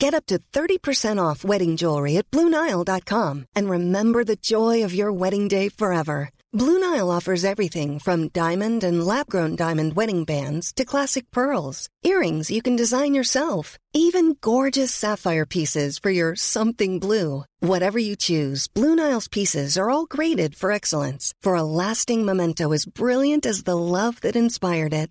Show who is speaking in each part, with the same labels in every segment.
Speaker 1: Get up to 30% off wedding jewelry at BlueNile.com and remember the joy of your wedding day forever. Blue Nile offers everything from diamond and lab-grown diamond wedding bands to classic pearls, earrings you can design yourself, even gorgeous sapphire pieces for your something blue. Whatever you choose, Blue Nile's pieces are all graded for excellence for a lasting memento as brilliant as the love that inspired it.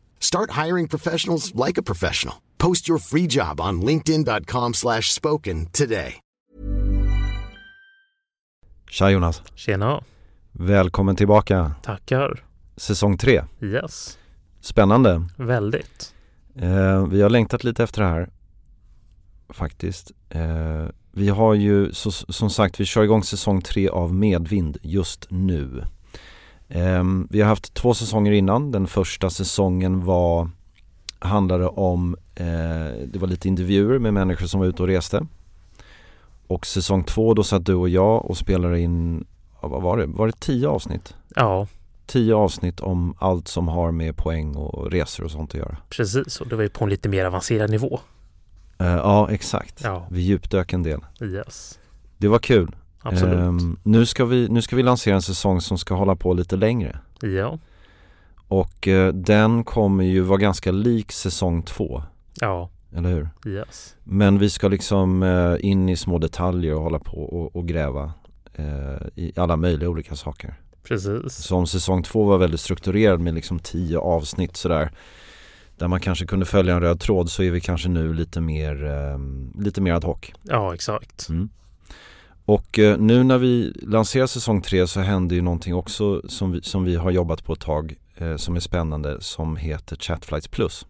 Speaker 2: Start hiring professionals like a professional. Post your free job on linkedin.com/spoken slash spoken today.
Speaker 3: Tja Jonas,
Speaker 4: Tjena,
Speaker 3: välkommen tillbaka.
Speaker 4: tackar.
Speaker 3: Säsong 3.
Speaker 4: Yes,
Speaker 3: Spännande.
Speaker 4: väldigt.
Speaker 3: Eh, vi har längtat lite efter det här. Faktiskt. Eh, vi har ju, så, som sagt, vi kör igång säsong 3 av Medvind just nu. Eh, vi har haft två säsonger innan. Den första säsongen var, handlade om, eh, det var lite intervjuer med människor som var ute och reste. Och säsong två, då satt du och jag och spelade in, ja, vad var det, var det tio avsnitt?
Speaker 4: Ja,
Speaker 3: tio avsnitt om allt som har med poäng och resor och sånt att göra.
Speaker 4: precis. Och det var ju på en lite mer avancerad nivå.
Speaker 3: Eh, ja, exakt.
Speaker 4: Ja.
Speaker 3: Vi djupdök en del.
Speaker 4: Yes,
Speaker 3: Det var kul.
Speaker 4: absolut.
Speaker 3: Ehm, nu, ska vi, nu ska vi lansera en säsong som ska hålla på lite längre.
Speaker 4: ja,
Speaker 3: Och eh, den kommer ju vara ganska lik säsong två,
Speaker 4: ja,
Speaker 3: eller hur?
Speaker 4: yes.
Speaker 3: Men vi ska liksom eh, in i små detaljer och hålla på och, och gräva eh, i alla möjliga olika saker.
Speaker 4: Precis.
Speaker 3: Så om säsong två var väldigt strukturerad med liksom tio avsnitt sådär där man kanske kunde följa en röd tråd så är vi kanske nu lite mer, eh, lite mer ad hoc.
Speaker 4: Ja, exakt.
Speaker 3: Och eh, nu när vi lanserar säsong tre så händer ju någonting också som vi, som vi har jobbat på ett tag eh, som är spännande som heter Chatflights Plus.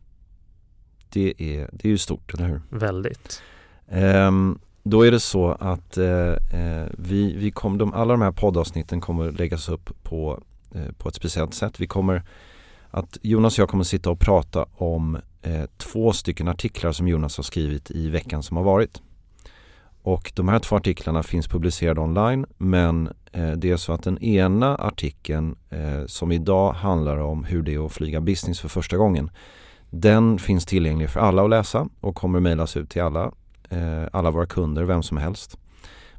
Speaker 3: Det är, det är ju stort, eller hur?
Speaker 4: Väldigt.
Speaker 3: Ehm, då är det så att eh, eh, vi, vi kom, de, alla de här poddavsnitten kommer läggas upp på, eh, på ett speciellt sätt. Vi kommer att Jonas och jag kommer sitta och prata om eh, två stycken artiklar som Jonas har skrivit i veckan som har varit. Och de här två artiklarna finns publicerade online men eh, det är så att den ena artikeln eh, som idag handlar om hur det är att flyga business för första gången den finns tillgänglig för alla att läsa och kommer mejlas ut till alla eh, alla våra kunder, vem som helst.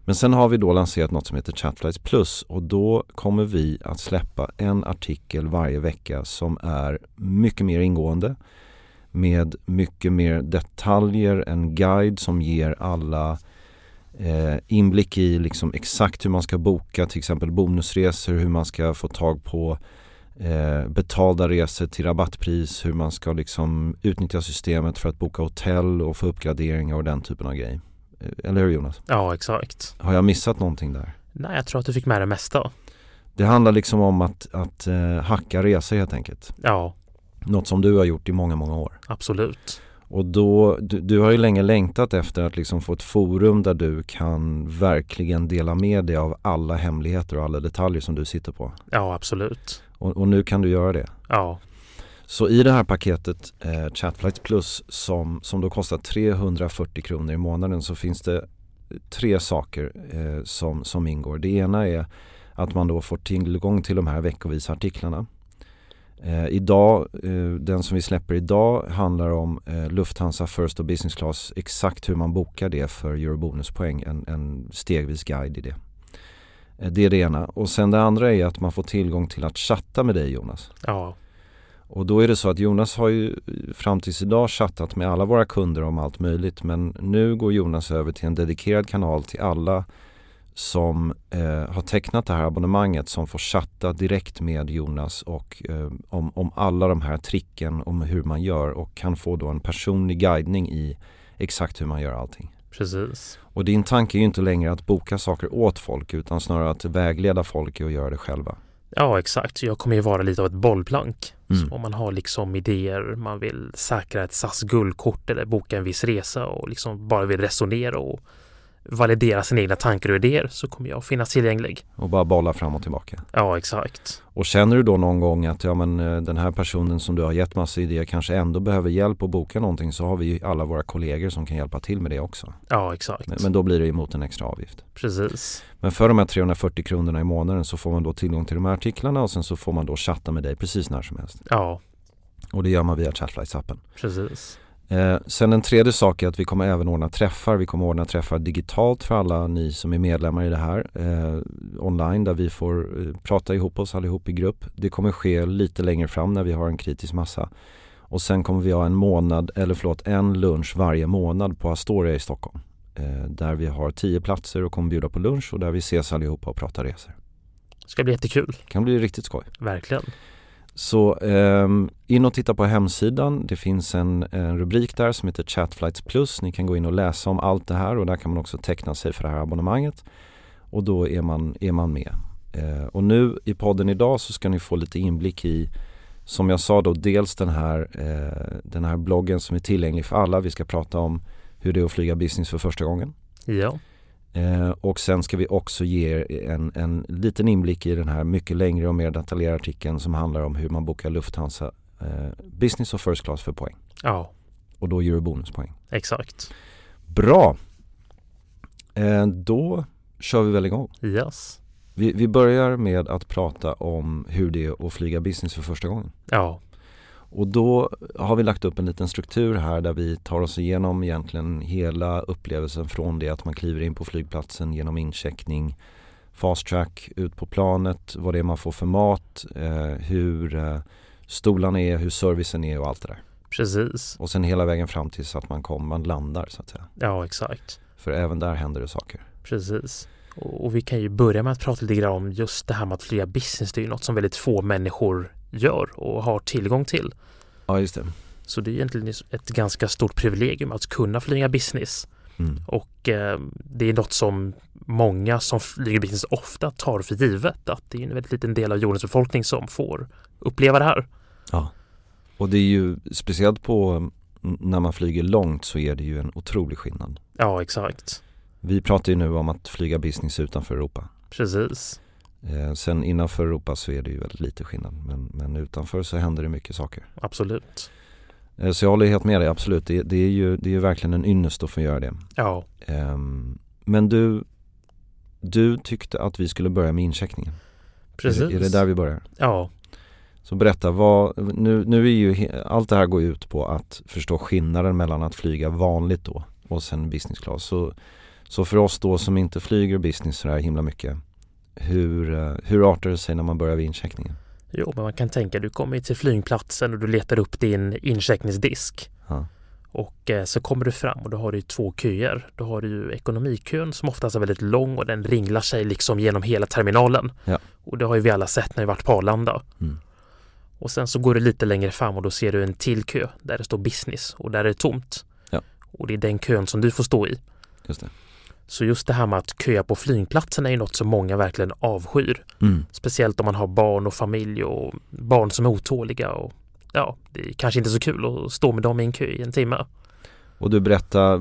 Speaker 3: Men sen har vi då lanserat något som heter Chatflights Plus och då kommer vi att släppa en artikel varje vecka som är mycket mer ingående med mycket mer detaljer, en guide som ger alla eh, inblick i liksom exakt hur man ska boka till exempel bonusresor, hur man ska få tag på eh, betalda resor till rabattpris, hur man ska liksom utnyttja systemet för att boka hotell och få uppgraderingar och den typen av grej. Eh, Eller hur Jonas?
Speaker 4: Ja, exakt.
Speaker 3: Har jag missat någonting där?
Speaker 4: Nej, jag tror att du fick med det mesta.
Speaker 3: Det handlar liksom om att, att eh, hacka resor helt enkelt.
Speaker 4: Ja,
Speaker 3: Något som du har gjort i många, många år.
Speaker 4: absolut.
Speaker 3: Och då, du, du har ju länge längtat efter att liksom få ett forum där du kan verkligen dela med dig av alla hemligheter och alla detaljer som du sitter på.
Speaker 4: Ja, absolut.
Speaker 3: Och, och nu kan du göra det.
Speaker 4: Ja,
Speaker 3: Så i det här paketet eh, Chatflight Plus som, som då kostar 340 kronor i månaden så finns det eh, tre saker eh, som, som ingår. Det ena är att man då får tillgång till de här veckovisa artiklarna. Eh, idag, eh, den som vi släpper idag handlar om eh, Lufthansa First och Business Class, exakt hur man bokar det för Eurobonuspoäng, en, en stegvis guide i det. Eh, det är det ena. Och sen det andra är att man får tillgång till att chatta med dig Jonas.
Speaker 4: ja,
Speaker 3: Och då är det så att Jonas har ju fram tills idag chattat med alla våra kunder om allt möjligt men nu går Jonas över till en dedikerad kanal till alla som eh, har tecknat det här abonnemanget som får chatta direkt med Jonas och eh, om, om alla de här tricken om hur man gör och kan få då en personlig guidning i exakt hur man gör allting.
Speaker 4: Precis.
Speaker 3: Och din tanke är ju inte längre att boka saker åt folk utan snarare att vägleda folk i att göra det själva.
Speaker 4: Ja, exakt. Jag kommer ju vara lite av ett bollplank.
Speaker 3: Mm.
Speaker 4: Så om man har liksom idéer, man vill säkra ett SAS guldkort eller boka en viss resa och liksom bara vill resonera och validera sina egna tankar och idéer så kommer jag finnas tillgänglig.
Speaker 3: Och bara bolla fram och tillbaka.
Speaker 4: Ja, exakt.
Speaker 3: Och känner du då någon gång att ja, men, eh, den här personen som du har gett massa idéer kanske ändå behöver hjälp att boka någonting så har vi ju alla våra kollegor som kan hjälpa till med det också.
Speaker 4: Ja, exakt.
Speaker 3: Men, men då blir det emot en extra avgift.
Speaker 4: Precis.
Speaker 3: Men för de här 340 kronorna i månaden så får man då tillgång till de här artiklarna och sen så får man då chatta med dig precis när som helst.
Speaker 4: Ja,
Speaker 3: Och det gör man via Chatflies-appen.
Speaker 4: precis.
Speaker 3: Eh, sen en tredje sak är att vi kommer även ordna träffar. Vi kommer ordna träffar digitalt för alla ni som är medlemmar i det här eh, online där vi får eh, prata ihop oss allihop i grupp. Det kommer ske lite längre fram när vi har en kritisk massa. Och sen kommer vi ha en månad, eller förlåt en lunch varje månad på Astoria i Stockholm. Eh, där vi har tio platser och kommer bjuda på lunch och där vi ses allihopa och pratar resor.
Speaker 4: Det ska bli jättekul.
Speaker 3: Det kan bli riktigt skoj.
Speaker 4: Verkligen.
Speaker 3: Så ehm, in och titta på hemsidan. Det finns en, en rubrik där som heter Chatflights Plus. Ni kan gå in och läsa om allt det här och där kan man också teckna sig för det här abonnemanget. Och då är man, är man med. Eh, och nu i podden idag så ska ni få lite inblick i som jag sa då dels den här, eh, den här bloggen som är tillgänglig för alla. Vi ska prata om hur det är att flyga business för första gången.
Speaker 4: Ja,
Speaker 3: Eh, och sen ska vi också ge er en, en liten inblick i den här mycket längre och mer detaljerade artikeln som handlar om hur man bokar Lufthansa eh, business och first class för poäng.
Speaker 4: ja,
Speaker 3: Och då ger du bonuspoäng.
Speaker 4: exakt.
Speaker 3: Bra! Eh, då kör vi väl igång.
Speaker 4: Yes.
Speaker 3: Vi, vi börjar med att prata om hur det är att flyga business för första gången.
Speaker 4: Ja,
Speaker 3: Och då har vi lagt upp en liten struktur här där vi tar oss igenom egentligen hela upplevelsen från det att man kliver in på flygplatsen genom incheckning, fast track ut på planet, vad det är man får för mat, eh, hur eh, stolarna är, hur servicen är och allt det där.
Speaker 4: precis.
Speaker 3: Och sen hela vägen fram tills att man kommer, man landar så att säga.
Speaker 4: Ja, exakt.
Speaker 3: För även där händer det saker.
Speaker 4: Precis. Och, och vi kan ju börja med att prata lite grann om just det här med att flyga business. Det är ju något som väldigt få människor gör och har tillgång till.
Speaker 3: Ja just det.
Speaker 4: Så det är egentligen ett ganska stort privilegium att kunna flyga business.
Speaker 3: Mm.
Speaker 4: Och eh, det är något som många som flyger business ofta tar för givet. Att det är en väldigt liten del av jordens befolkning som får uppleva det här.
Speaker 3: Och det är ju speciellt på mm, när man flyger långt så är det ju en otrolig skillnad.
Speaker 4: Ja, exakt.
Speaker 3: Vi pratar ju nu om att flyga business utanför Europa.
Speaker 4: Precis.
Speaker 3: Eh, sen innanför Europa så är det ju väldigt lite skillnad men, men utanför så händer det mycket saker.
Speaker 4: Absolut.
Speaker 3: Eh, så jag håller helt med dig, absolut. Det, det, är, ju, det är ju verkligen en ynnest att få göra det.
Speaker 4: Ja,
Speaker 3: Ehm, men du, du tyckte att vi skulle börja med incheckningen.
Speaker 4: precis.
Speaker 3: Är, det- är det där vi börjar?
Speaker 4: Ja,
Speaker 3: Så berätta, vad, nu, nu är ju he- allt det här går ju ut på att förstå skillnaden mellan att flyga vanligt då och sen business class. Så, så för oss då som inte flyger business så här himla mycket, hur, eh, hur artar det sig när man börjar vid incheckningen?
Speaker 4: jo, men man kan tänka du kommer till flygplatsen och du letar upp din incheckningsdisk.
Speaker 3: Ja.
Speaker 4: Och eh, så kommer du fram och då har du ju två köer. Då har du ju ekonomikön som oftast är väldigt lång och den ringlar sig liksom genom hela terminalen.
Speaker 3: Ja.
Speaker 4: Och det har ju vi alla sett när vi varit på Arlanda.
Speaker 3: Mm.
Speaker 4: Och sen så går du lite längre fram och då ser du en till kö där det står business och där är det tomt.
Speaker 3: Ja.
Speaker 4: Och det är den kön som du får stå i.
Speaker 3: Just det.
Speaker 4: Så just det här med att köa på flygplatsen är ju något som många verkligen avskyr.
Speaker 3: Mm.
Speaker 4: Speciellt om man har barn och familj och barn som är otåliga och ja, det är kanske inte så kul att stå med dem i en kö i en timme.
Speaker 3: Och du berättar,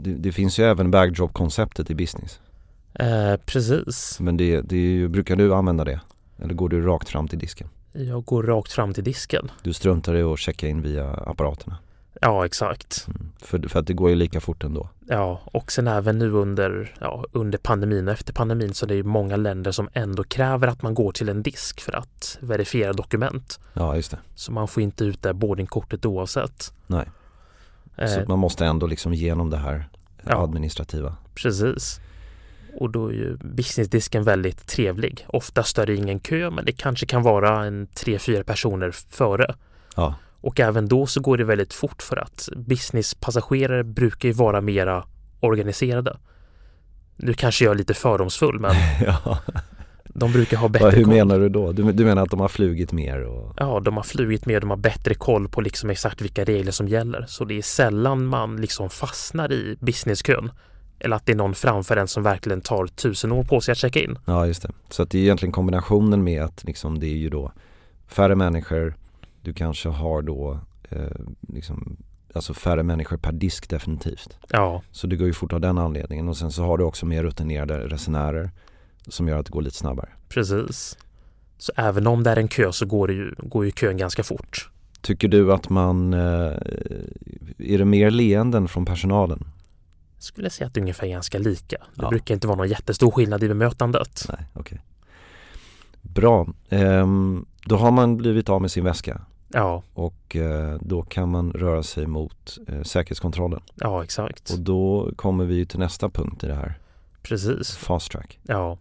Speaker 3: det, det finns ju även backdrop-konceptet i business.
Speaker 4: Eh, precis.
Speaker 3: Men det, det är ju, brukar du använda det? Eller går du rakt fram till disken?
Speaker 4: Jag går rakt fram till disken.
Speaker 3: Du struntar i att checka in via apparaterna?
Speaker 4: Ja, exakt.
Speaker 3: Mm. För, för att det går ju lika fort ändå.
Speaker 4: Ja, och sen även nu under, ja, under pandemin och efter pandemin så är det ju många länder som ändå kräver att man går till en disk för att verifiera dokument.
Speaker 3: Ja, just det.
Speaker 4: Så man får inte ut det här boardingkortet oavsett.
Speaker 3: Nej. Så
Speaker 4: Eh,
Speaker 3: att man måste ändå liksom genom det här
Speaker 4: Ja.
Speaker 3: administrativa.
Speaker 4: Precis. Och då är ju businessdisken väldigt trevlig. Oftast är det ingen kö men det kanske kan vara en tre, fyra personer före.
Speaker 3: Ja.
Speaker 4: Och även då så går det väldigt fort för att businesspassagerare brukar ju vara mera organiserade. Nu kanske jag är lite fördomsfull men
Speaker 3: ja.
Speaker 4: de brukar ha bättre
Speaker 3: Vad, hur
Speaker 4: koll.
Speaker 3: menar du då? Du, du menar att de har flugit mer och...
Speaker 4: Ja, de har flugit med, de har bättre koll på liksom exakt vilka regler som gäller. Så det är sällan man liksom fastnar i businesskön. Eller att det är någon framför en som verkligen tar tusen år på sig att checka in.
Speaker 3: Ja, just det. Så att det är egentligen kombinationen med att liksom, det är ju då färre människor, du kanske har då eh, liksom, alltså färre människor per disk definitivt.
Speaker 4: Ja,
Speaker 3: Så det går ju fort av den anledningen och sen så har du också mer rutinerade resenärer som gör att det går lite snabbare.
Speaker 4: precis. Så även om det är en kö så går, det ju, går ju kön ganska fort.
Speaker 3: Tycker du att man, eh, är det mer leenden från personalen?
Speaker 4: Skulle jag säga att det är ungefär ganska lika. Det
Speaker 3: Ja.
Speaker 4: brukar inte vara någon jättestor skillnad i bemötandet.
Speaker 3: Nej, okej. Bra, Ehm, då har man blivit av med sin väska
Speaker 4: Ja,
Speaker 3: och eh, då kan man röra sig mot eh, säkerhetskontrollen.
Speaker 4: ja exakt.
Speaker 3: Och då kommer vi ju till nästa punkt i det här,
Speaker 4: Precis.
Speaker 3: fast track.
Speaker 4: Ja.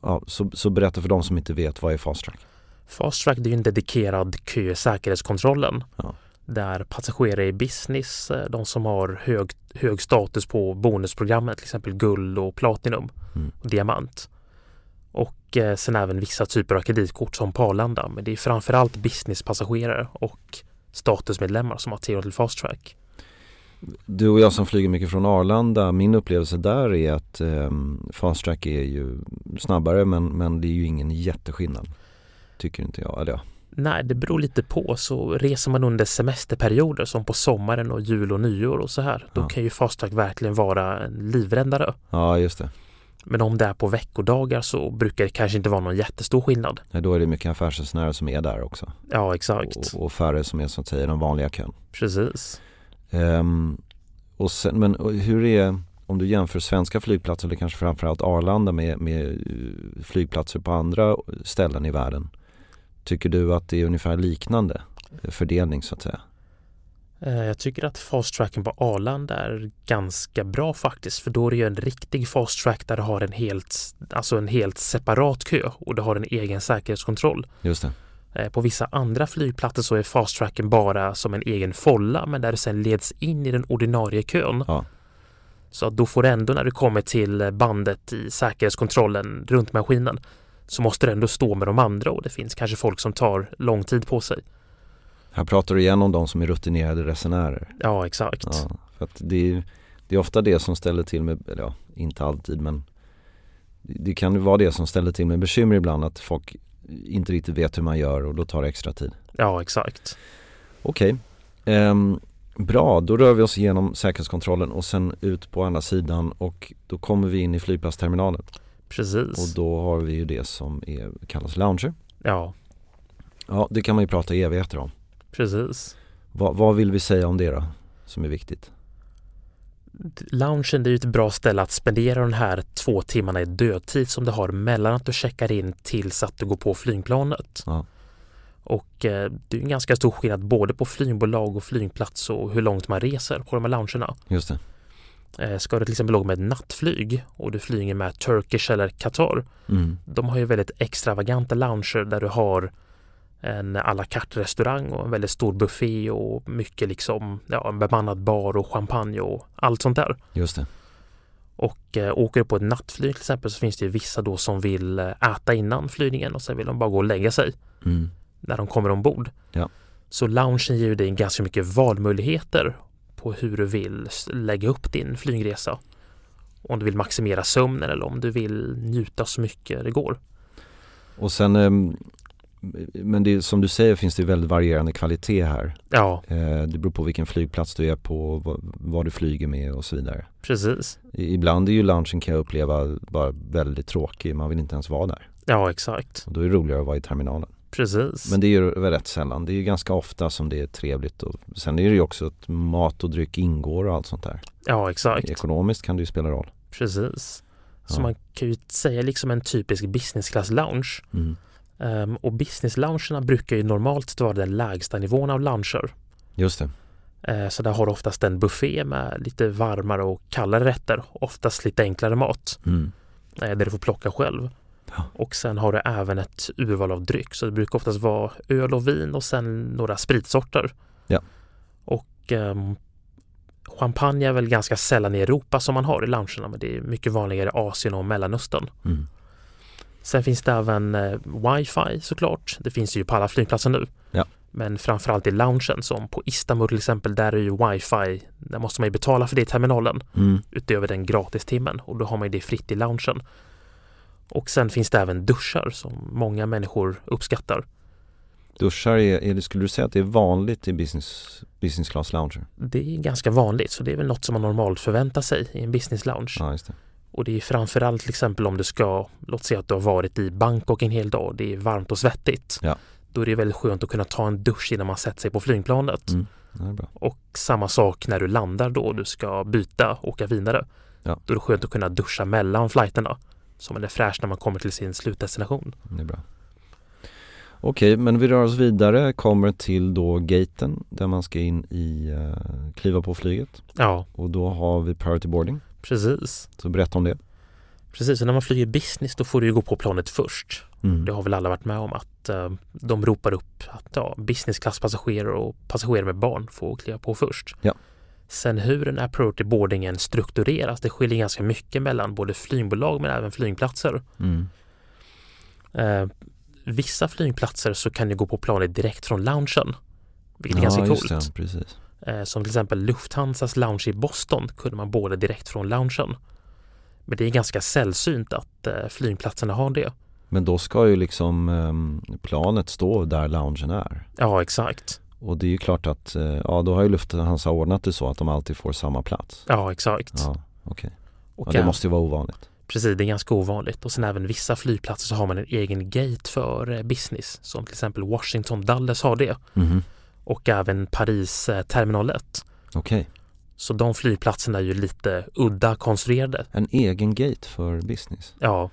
Speaker 3: Ja, så, så berätta för de som inte vet, vad är fast track?
Speaker 4: Fast track det är ju en dedikerad kö i säkerhetskontrollen.
Speaker 3: Ja.
Speaker 4: Där passagerare i business, eh, de som har hög, hög status på bonusprogrammen, till exempel guld och platinum
Speaker 3: Mm.
Speaker 4: och diamant. Och eh, sen även vissa typer av kreditkort som på Arlanda. Men det är framförallt businesspassagerare och statusmedlemmar som har tillgång till fast track.
Speaker 3: Du och jag som flyger mycket från Arlanda, min upplevelse där är att eh, fast track är ju snabbare men, men det är ju ingen jätteskillnad. Tycker inte jag, eller ja.
Speaker 4: Nej, det beror lite på. Så reser man under semesterperioder som på sommaren och jul och nyår och så här, då
Speaker 3: Ja.
Speaker 4: kan ju fast track verkligen vara en livräddare.
Speaker 3: Ja just det,
Speaker 4: Men om det är på veckodagar så brukar det kanske inte vara någon jättestor skillnad.
Speaker 3: Nej, då är det mycket affärsresenärer som är där också.
Speaker 4: Ja, exakt.
Speaker 3: Och, och färre som är så att säga i den vanliga kön.
Speaker 4: Precis.
Speaker 3: Ehm, och sen, men och hur är, om du jämför svenska flygplatser eller kanske framförallt Arlanda med, med eh, flygplatser på andra ställen i världen. Tycker du att det är ungefär liknande fördelning så att säga?
Speaker 4: Eh, Jag tycker att fast tracken på Arlanda är ganska bra faktiskt, för då är det ju en riktig fast track där du har en helt, alltså en helt separat kö och du har en egen säkerhetskontroll.
Speaker 3: Just det.
Speaker 4: Eh, På vissa andra flygplatser så är fast tracken bara som en egen folla, men där du sen leds in i den ordinarie kön.
Speaker 3: Ja.
Speaker 4: Så att då får du ändå när du kommer till bandet i säkerhetskontrollen runt maskinen så måste du ändå stå med de andra och det finns kanske folk som tar lång tid på sig.
Speaker 3: Här pratar du igen om de som är rutinerade resenärer.
Speaker 4: Ja, exakt.
Speaker 3: Ja, för att det, är, det är ofta det som ställer till med, eller ja, inte alltid men det kan ju vara det som ställer till med bekymmer ibland att folk inte riktigt vet hur man gör och då tar det extra tid.
Speaker 4: Ja, exakt.
Speaker 3: Okej, Ehm, bra då rör vi oss igenom säkerhetskontrollen och sen ut på andra sidan och då kommer vi in i flygplatsterminalen
Speaker 4: Precis.
Speaker 3: och då har vi ju det som är, kallas lounger.
Speaker 4: Ja,
Speaker 3: Ja, det kan man ju prata i evigheter om.
Speaker 4: precis.
Speaker 3: Vad- vad vill vi säga om det då som är viktigt?
Speaker 4: Loungen det är ju ett bra ställe att spendera de här två timmarna i dödtid som du har mellan att du checkar in tills att du går på flygplanet.
Speaker 3: Ja.
Speaker 4: Och eh, det är ju en ganska stor skillnad både på flygbolag och flygplats och hur långt man reser på de här loungerna.
Speaker 3: Just det,
Speaker 4: Eh, ska du till exempel åka med ett nattflyg och du flyger med Turkish eller Qatar,
Speaker 3: mm.
Speaker 4: de har ju väldigt extravaganta lounger där du har en à la carte restaurang och en väldigt stor buffé och mycket liksom, ja, en bemannad bar och champagne och allt sånt där.
Speaker 3: just det.
Speaker 4: Och eh, åker du på ett nattflyg till exempel så finns det ju vissa då som vill eh, äta innan flygningen och sen vill de bara gå och lägga sig
Speaker 3: Mm.
Speaker 4: när de kommer ombord.
Speaker 3: Ja.
Speaker 4: Så loungen ger ju dig ganska mycket valmöjligheter på hur du vill s- lägga upp din flygresa. Om du vill maximera sömnen eller om du vill njuta så mycket det går.
Speaker 3: Och sen, ehm, men det, är- som du säger finns det väldigt varierande kvalitet här.
Speaker 4: Ja,
Speaker 3: Eh, Det beror på vilken flygplats du är på, vad, vad du flyger med och så vidare.
Speaker 4: precis.
Speaker 3: I- Ibland är ju lunchen kan jag uppleva bara väldigt tråkig, man vill inte ens vara där.
Speaker 4: Ja, exakt.
Speaker 3: Och då är det roligare att vara i terminalen.
Speaker 4: Precis.
Speaker 3: Men det är ju väl rätt sällan, det är ju ganska ofta som det är trevligt och sen är det ju också att mat och dryck ingår och allt sånt där.
Speaker 4: ja, exakt.
Speaker 3: Ekonomiskt kan det ju spela roll.
Speaker 4: Precis. Så
Speaker 3: Ja.
Speaker 4: man kan ju säga liksom en typisk business class lounge.
Speaker 3: Mm.
Speaker 4: Ehm, och business loungerna brukar ju normalt vara den lägsta nivån av lounger.
Speaker 3: Just det,
Speaker 4: Eh, Så där har du oftast en buffé med lite varmare och kallare rätter, oftast lite enklare mat,
Speaker 3: mm.
Speaker 4: eh, där du får plocka själv. Och sen har du även ett urval av dryck. Så det brukar oftast vara öl och vin och sen några spritsorter.
Speaker 3: Ja.
Speaker 4: Och ehm, champagne är väl ganska sällan i Europa som man har i loungerna men det är mycket vanligare i Asien och Mellanöstern.
Speaker 3: Mm.
Speaker 4: Sen finns det även eh, wifi såklart. Det finns ju på alla flygplatser nu.
Speaker 3: Ja.
Speaker 4: Men framförallt i loungen som på Istanbul till exempel, där är ju wifi, där måste man ju betala för det i terminalen
Speaker 3: Mm.
Speaker 4: utöver den gratistimmen och då har man ju det fritt i loungen. Och sen finns det även duschar som många människor uppskattar.
Speaker 3: Duschar, är, är det, skulle du säga att det är vanligt i business, business class lounger?
Speaker 4: Det är ganska vanligt så det är väl något som man normalt förväntar sig i en business lounge.
Speaker 3: Ja, just det.
Speaker 4: Och det är framförallt till exempel om du ska, låt säga att du har varit i Bangkok en hel dag och det är varmt och svettigt.
Speaker 3: Ja.
Speaker 4: Då är det väldigt skönt att kunna ta en dusch innan man sätter sig på flygplanet.
Speaker 3: Mm. Ja, det är bra.
Speaker 4: Och samma sak när du landar då och du ska byta och åka vidare.
Speaker 3: Ja.
Speaker 4: Då är det skönt att kunna duscha mellan flighterna. Så man är fräsch när man kommer till sin slutdestination.
Speaker 3: Det är bra. Okej, men vi rör oss vidare, kommer till då gaten där man ska in i, eh, kliva på flyget
Speaker 4: Ja,
Speaker 3: och då har vi priority boarding.
Speaker 4: precis.
Speaker 3: Så berätta om det.
Speaker 4: Precis, och när man flyger business då får du ju gå på planet först.
Speaker 3: Mm.
Speaker 4: Det har väl alla varit med om att eh, de ropar upp att ja, business class-passagerare och passagerare med barn får kliva på först.
Speaker 3: Ja.
Speaker 4: Sen hur den här priority boardingen struktureras, det skiljer ganska mycket mellan både flygbolag men även flygplatser.
Speaker 3: Mm.
Speaker 4: Eh, vissa flygplatser så kan du gå på planet direkt från loungen, vilket är
Speaker 3: ja,
Speaker 4: ganska
Speaker 3: just
Speaker 4: coolt.
Speaker 3: Det, precis.
Speaker 4: Eh, som till exempel Lufthansas lounge i Boston kunde man båda direkt från loungen. Men det är ganska sällsynt att eh, flygplatserna har det.
Speaker 3: Men då ska ju liksom ehm, planet stå där loungen är.
Speaker 4: Ja, exakt.
Speaker 3: Och det är ju klart att, eh, ja då har ju Lufthansa ordnat det så att de alltid får samma plats.
Speaker 4: Ja, exakt.
Speaker 3: Ja, okej.
Speaker 4: Och
Speaker 3: Ja, det
Speaker 4: även-
Speaker 3: måste ju vara ovanligt.
Speaker 4: Precis, det är ganska ovanligt. Och sen även vissa flygplatser så har man en egen gate för eh, business. Som till exempel Washington Dulles har det.
Speaker 3: Mhm.
Speaker 4: Och även Paris eh, terminal 1.
Speaker 3: Okej,
Speaker 4: Så de flygplatserna är ju lite udda konstruerade.
Speaker 3: en egen gate för business.
Speaker 4: Ja,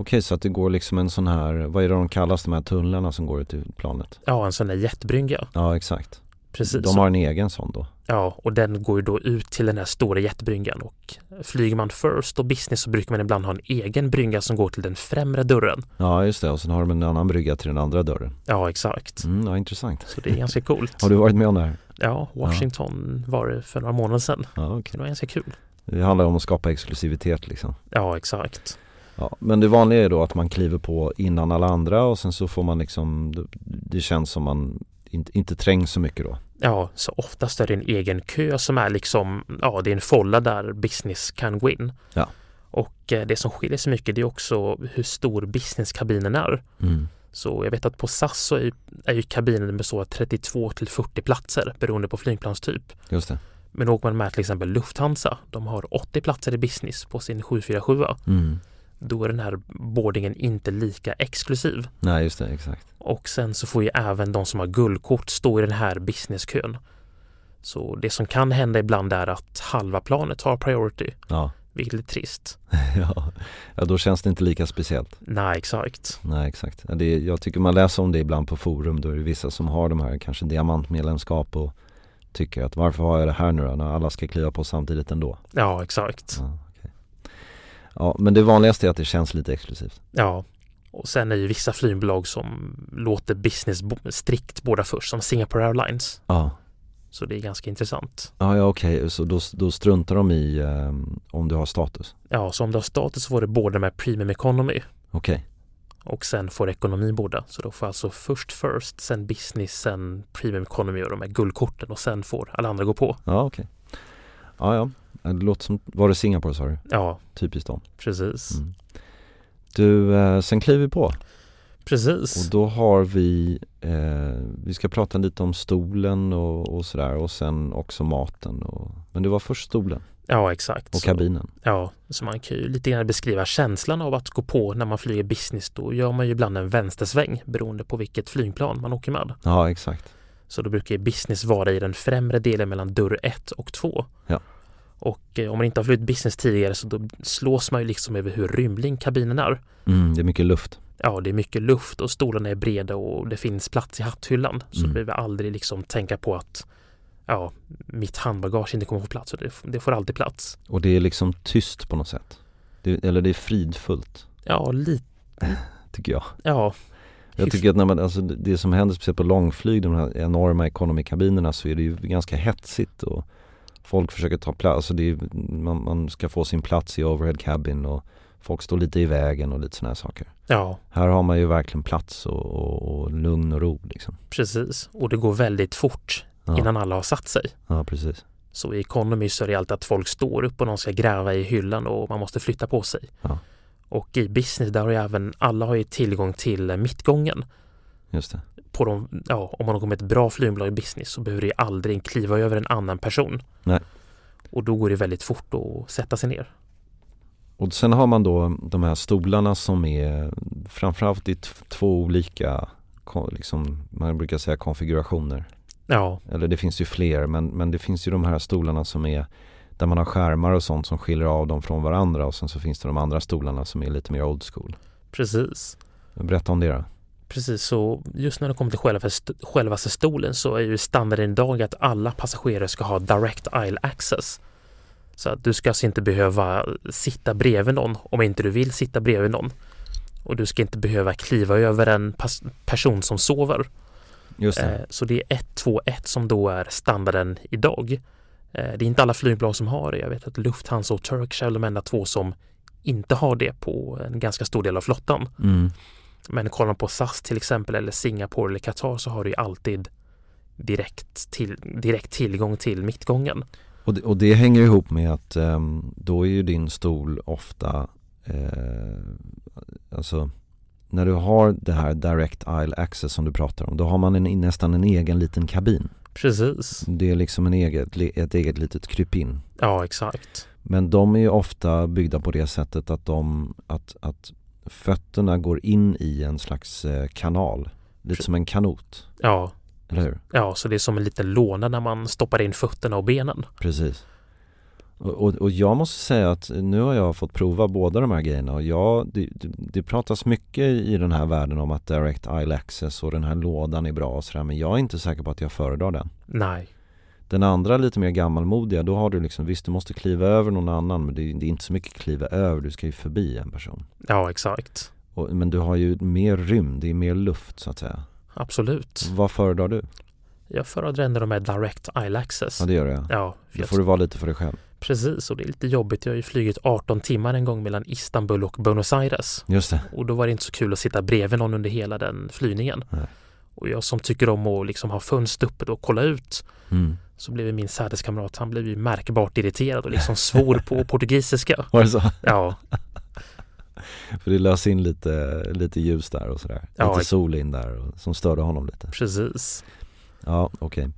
Speaker 3: Okej, så att det går liksom en sån här, vad är det de kallas, de här tunnlarna som går ut ur planet?
Speaker 4: ja en sån där jetbrygga.
Speaker 3: Ja, exakt.
Speaker 4: Precis.
Speaker 3: De har en egen sån då.
Speaker 4: Ja, och den går ju då ut till den här stora jetbryggan och flyger man first och business så brukar man ibland ha en egen brygga som går till den främre dörren.
Speaker 3: Ja, just det. Och sen har de en annan brygga till den andra dörren.
Speaker 4: Ja, exakt.
Speaker 3: Mm, ja, intressant.
Speaker 4: Så det är ganska coolt.
Speaker 3: Har du varit med om det här?
Speaker 4: Ja, Washington var det för några månader sedan.
Speaker 3: Ja, okej.
Speaker 4: Det var ganska kul.
Speaker 3: Det handlar om att skapa exklusivitet liksom.
Speaker 4: Ja, exakt.
Speaker 3: Ja, men det vanliga är då att man kliver på innan alla andra och sen så får man liksom, det- det känns som man inte, inte trängs så mycket då.
Speaker 4: Ja, så oftast är det en egen kö som är liksom, ja, det är en folla där business kan gå in.
Speaker 3: Ja.
Speaker 4: Och eh, det som skiljer sig mycket det är också hur stor businesskabinen är.
Speaker 3: Mm.
Speaker 4: Så jag vet att på SAS så är ju, är ju kabinen består av 32 till 40 platser beroende på flygplanstyp.
Speaker 3: Just det.
Speaker 4: Men åker man med till exempel Lufthansa, de har 80 platser i business på sin 747,
Speaker 3: Mm.
Speaker 4: då är den här boardingen inte lika exklusiv.
Speaker 3: Nej, just det, exakt.
Speaker 4: Och sen så får ju även de som har guldkort stå i den här businesskön. Så det som kan hända ibland är att halva planet har priority,
Speaker 3: Ja.
Speaker 4: vilket är trist.
Speaker 3: ja, ja, då känns det inte lika speciellt.
Speaker 4: Nej, exakt.
Speaker 3: Nej exakt. Ja, Det, jag tycker man läser om det ibland på forum. Då är det vissa som har de här kanske diamantmedlemskap och tycker att varför har jag det här nu då när alla ska kliva på samtidigt ändå.
Speaker 4: Ja, exakt.
Speaker 3: Ja, okej. ja men det vanligaste är att det känns lite exklusivt.
Speaker 4: Ja. Och sen är ju vissa flygbolag som låter business bo- strikt båda först, som Singapore Airlines.
Speaker 3: Ja,
Speaker 4: Så det är ganska intressant.
Speaker 3: ja, ja okej så då, då struntar de i ehm, om du har status.
Speaker 4: Ja, så om du har status så får du båda med Premium Economy
Speaker 3: Okej,
Speaker 4: och sen får du ekonomi båda. Så då får alltså först First, sen Business, sen Premium Economy och de här guldkorten och sen får alla andra gå på.
Speaker 3: ja okej. Ja ja, Ja, det låter som, var det Singapore sa du?
Speaker 4: Ja,
Speaker 3: Typiskt dem.
Speaker 4: precis.
Speaker 3: Mm. Du, eh, sen kliver vi på. Och
Speaker 4: Precis.
Speaker 3: då har vi, eh, vi ska prata lite om stolen och, och sådär och sen också maten och, Men det var först stolen
Speaker 4: Ja, exakt.
Speaker 3: och kabinen
Speaker 4: Så, ja, så man kan ju lite grann beskriva känslan av att gå på när man flyger business. Då gör man ju ibland en vänstersväng beroende på vilket flygplan man åker med.
Speaker 3: Ja exakt,
Speaker 4: Så då brukar ju business vara i den främre delen mellan dörr 1 och 2.
Speaker 3: Ja.
Speaker 4: Och eh, om man inte har flugit business tidigare så då slås man ju liksom över hur rymlig kabinen är.
Speaker 3: mm, det är mycket luft
Speaker 4: Ja, det är mycket luft och stolarna är breda och det finns plats i hatthyllan. Så
Speaker 3: Mm.
Speaker 4: du behöver aldrig liksom tänka på att ja, mitt handbagage inte kommer få plats. Så det, det får alltid plats.
Speaker 3: och det är liksom tyst på något sätt det, Eller det är fridfullt
Speaker 4: Ja, lite
Speaker 3: tycker jag.
Speaker 4: Ja,
Speaker 3: Jag
Speaker 4: Hyfs-
Speaker 3: tycker att när man, alltså det- det som händer speciellt på långflyg, de här enorma economy-kabinerna så är det ju ganska hetsigt och folk försöker ta plats, alltså det är, man, man ska få sin plats i overhead cabin och folk står lite i vägen och lite sådana här saker.
Speaker 4: ja,
Speaker 3: Här har man ju verkligen plats och, och, och lugn och ro liksom.
Speaker 4: precis. Och det går väldigt fort
Speaker 3: Ja.
Speaker 4: innan alla har satt sig.
Speaker 3: Ja, precis.
Speaker 4: Så i Economy så är det alltid att folk står upp och någon ska gräva i hyllan och man måste flytta på sig.
Speaker 3: Ja.
Speaker 4: Och i business där har ju även alla har ju tillgång till eh, mittgången.
Speaker 3: Just det.
Speaker 4: På de, ja, om man har kommit ett bra flygbolag i business så behöver du ju aldrig kliva över en annan person.
Speaker 3: Nej.
Speaker 4: Och då går det väldigt fort att sätta sig ner.
Speaker 3: Och sen har man då de här stolarna som är framförallt i t- två olika, ko- liksom, man brukar säga konfigurationer.
Speaker 4: Ja,
Speaker 3: Eller det finns ju fler, men, men det finns ju de här stolarna som är där man har skärmar och sånt som skiljer av dem från varandra och sen så finns det de andra stolarna som är lite mer old school.
Speaker 4: precis.
Speaker 3: Berätta om det då.
Speaker 4: Precis, så just när det kommer till själva, st- självaste stolen så är ju standarden idag att alla passagerare ska ha direct aisle access. Så att du ska alltså inte behöva sitta bredvid någon om inte du vill sitta bredvid någon. Och du ska inte behöva kliva över en pas- person som sover.
Speaker 3: Just det.
Speaker 4: Eh, Så det är 121 som då är standarden idag. Eh, Det är inte alla flygbolag som har det. Jag vet att Lufthansa och Turkish är de enda två som inte har det på en ganska stor del av flottan.
Speaker 3: Mm.
Speaker 4: Men kollar man på SAS till exempel eller Singapore eller Qatar så har du ju alltid direkt, till, direkt tillgång till mittgången.
Speaker 3: Och, det, och det hänger ihop med att ehm, då är ju din stol ofta, eh, alltså när du har det här direct aisle access som du pratar om, då har man en, nästan en egen liten kabin.
Speaker 4: Precis.
Speaker 3: Det är liksom en eget, ett eget litet krypin.
Speaker 4: Ja, exakt.
Speaker 3: Men de är ju ofta byggda på det sättet att, de, att, att fötterna går in i en slags eh, kanal. Lite
Speaker 4: Pre-
Speaker 3: som en kanot,
Speaker 4: Ja,
Speaker 3: eller hur?
Speaker 4: ja, så det är som en liten låda när man stoppar in fötterna och benen.
Speaker 3: Precis. Och, och, och jag måste säga att nu har jag fått prova båda de här grejerna och jag, det, det- det pratas mycket i den här världen om att direct aisle access och den här lådan är bra och sådär men jag är inte säker på att jag föredrar den.
Speaker 4: Nej,
Speaker 3: Den andra lite mer gammalmodiga, då har du liksom, visst du måste kliva över någon annan men det, är- det är inte så mycket kliva över, du ska ju förbi en person.
Speaker 4: ja, exakt.
Speaker 3: Och, men du har ju mer rymd, det är mer luft så att säga.
Speaker 4: Absolut.
Speaker 3: Vad föredrar du?
Speaker 4: Jag föredrar ändå de här direct aisle access.
Speaker 3: Ja det gör jag.
Speaker 4: Ja, för
Speaker 3: Då
Speaker 4: jag
Speaker 3: får du vara lite för dig själv.
Speaker 4: precis. Och det är lite jobbigt. Jag har ju flugit 18 timmar en gång mellan Istanbul och Buenos Aires.
Speaker 3: Just det.
Speaker 4: Och då var det inte så kul att sitta bredvid någon under hela den flygningen.
Speaker 3: Nej.
Speaker 4: Och jag som tycker om att liksom ha fönstret uppe och kolla ut
Speaker 3: Mm.
Speaker 4: så blev ju min säteskamrat, han blev ju märkbart irriterad och liksom svor på portugisiska.
Speaker 3: Var det så?
Speaker 4: Ja,
Speaker 3: För det lös in lite, lite ljus där och sådär.
Speaker 4: Ja,
Speaker 3: lite
Speaker 4: ex-
Speaker 3: sol in där och, som störde honom lite.
Speaker 4: precis.
Speaker 3: Ja, okej.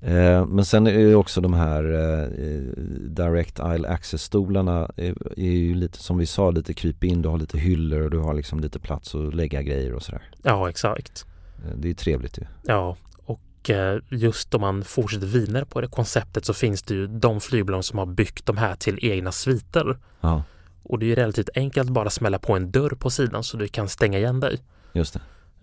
Speaker 3: Eh, men sen är det ju också de här eh, eh, Direct Aisle Access-stolarna är, är ju lite som vi sa, lite kryp in, du har lite hyllor och du har liksom lite plats att lägga grejer och sådär.
Speaker 4: Ja, exakt.
Speaker 3: Eh, det är ju trevligt ju.
Speaker 4: Ja, och eh, just om man fortsätter vidare på det konceptet så finns det ju de flygbolag som har byggt de här till egna sviter.
Speaker 3: Ja,
Speaker 4: Och det är ju relativt enkelt bara smälla på en dörr på sidan så du kan stänga igen dig.
Speaker 3: just det.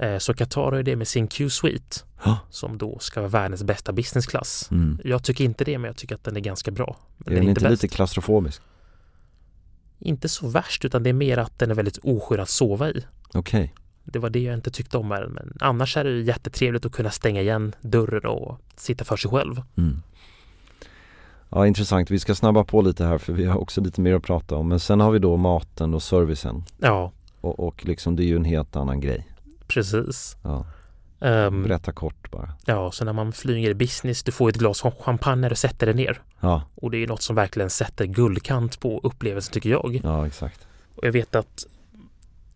Speaker 4: Eh, Så Qatar har ju det med sin Q-suite
Speaker 3: Ja.
Speaker 4: som då ska vara världens bästa businessklass.
Speaker 3: Mm.
Speaker 4: Jag tycker inte det, men jag tycker att den är ganska bra.
Speaker 3: Är
Speaker 4: Den
Speaker 3: den inte
Speaker 4: bäst.
Speaker 3: lite klaustrofobisk?
Speaker 4: inte så värst, utan det är mer att den är väldigt oskör att sova i.
Speaker 3: Okej.
Speaker 4: Det var det jag inte tyckte om med den, men annars är det ju jättetrevligt att kunna stänga igen dörren och sitta för sig själv.
Speaker 3: Mm. Ja, intressant. Vi ska snabba på lite här för vi har också lite mer att prata om. Men sen har vi då maten och servicen.
Speaker 4: Ja,
Speaker 3: Och, och liksom det är ju en helt annan grej.
Speaker 4: precis.
Speaker 3: Ja.
Speaker 4: Ehm,
Speaker 3: Berätta kort bara.
Speaker 4: ja, så när man flyger i business, du får ett glas champagne när du sätter dig ner.
Speaker 3: Ja,
Speaker 4: Och det är ju något som verkligen sätter guldkant på upplevelsen tycker jag.
Speaker 3: ja exakt.
Speaker 4: Och jag vet att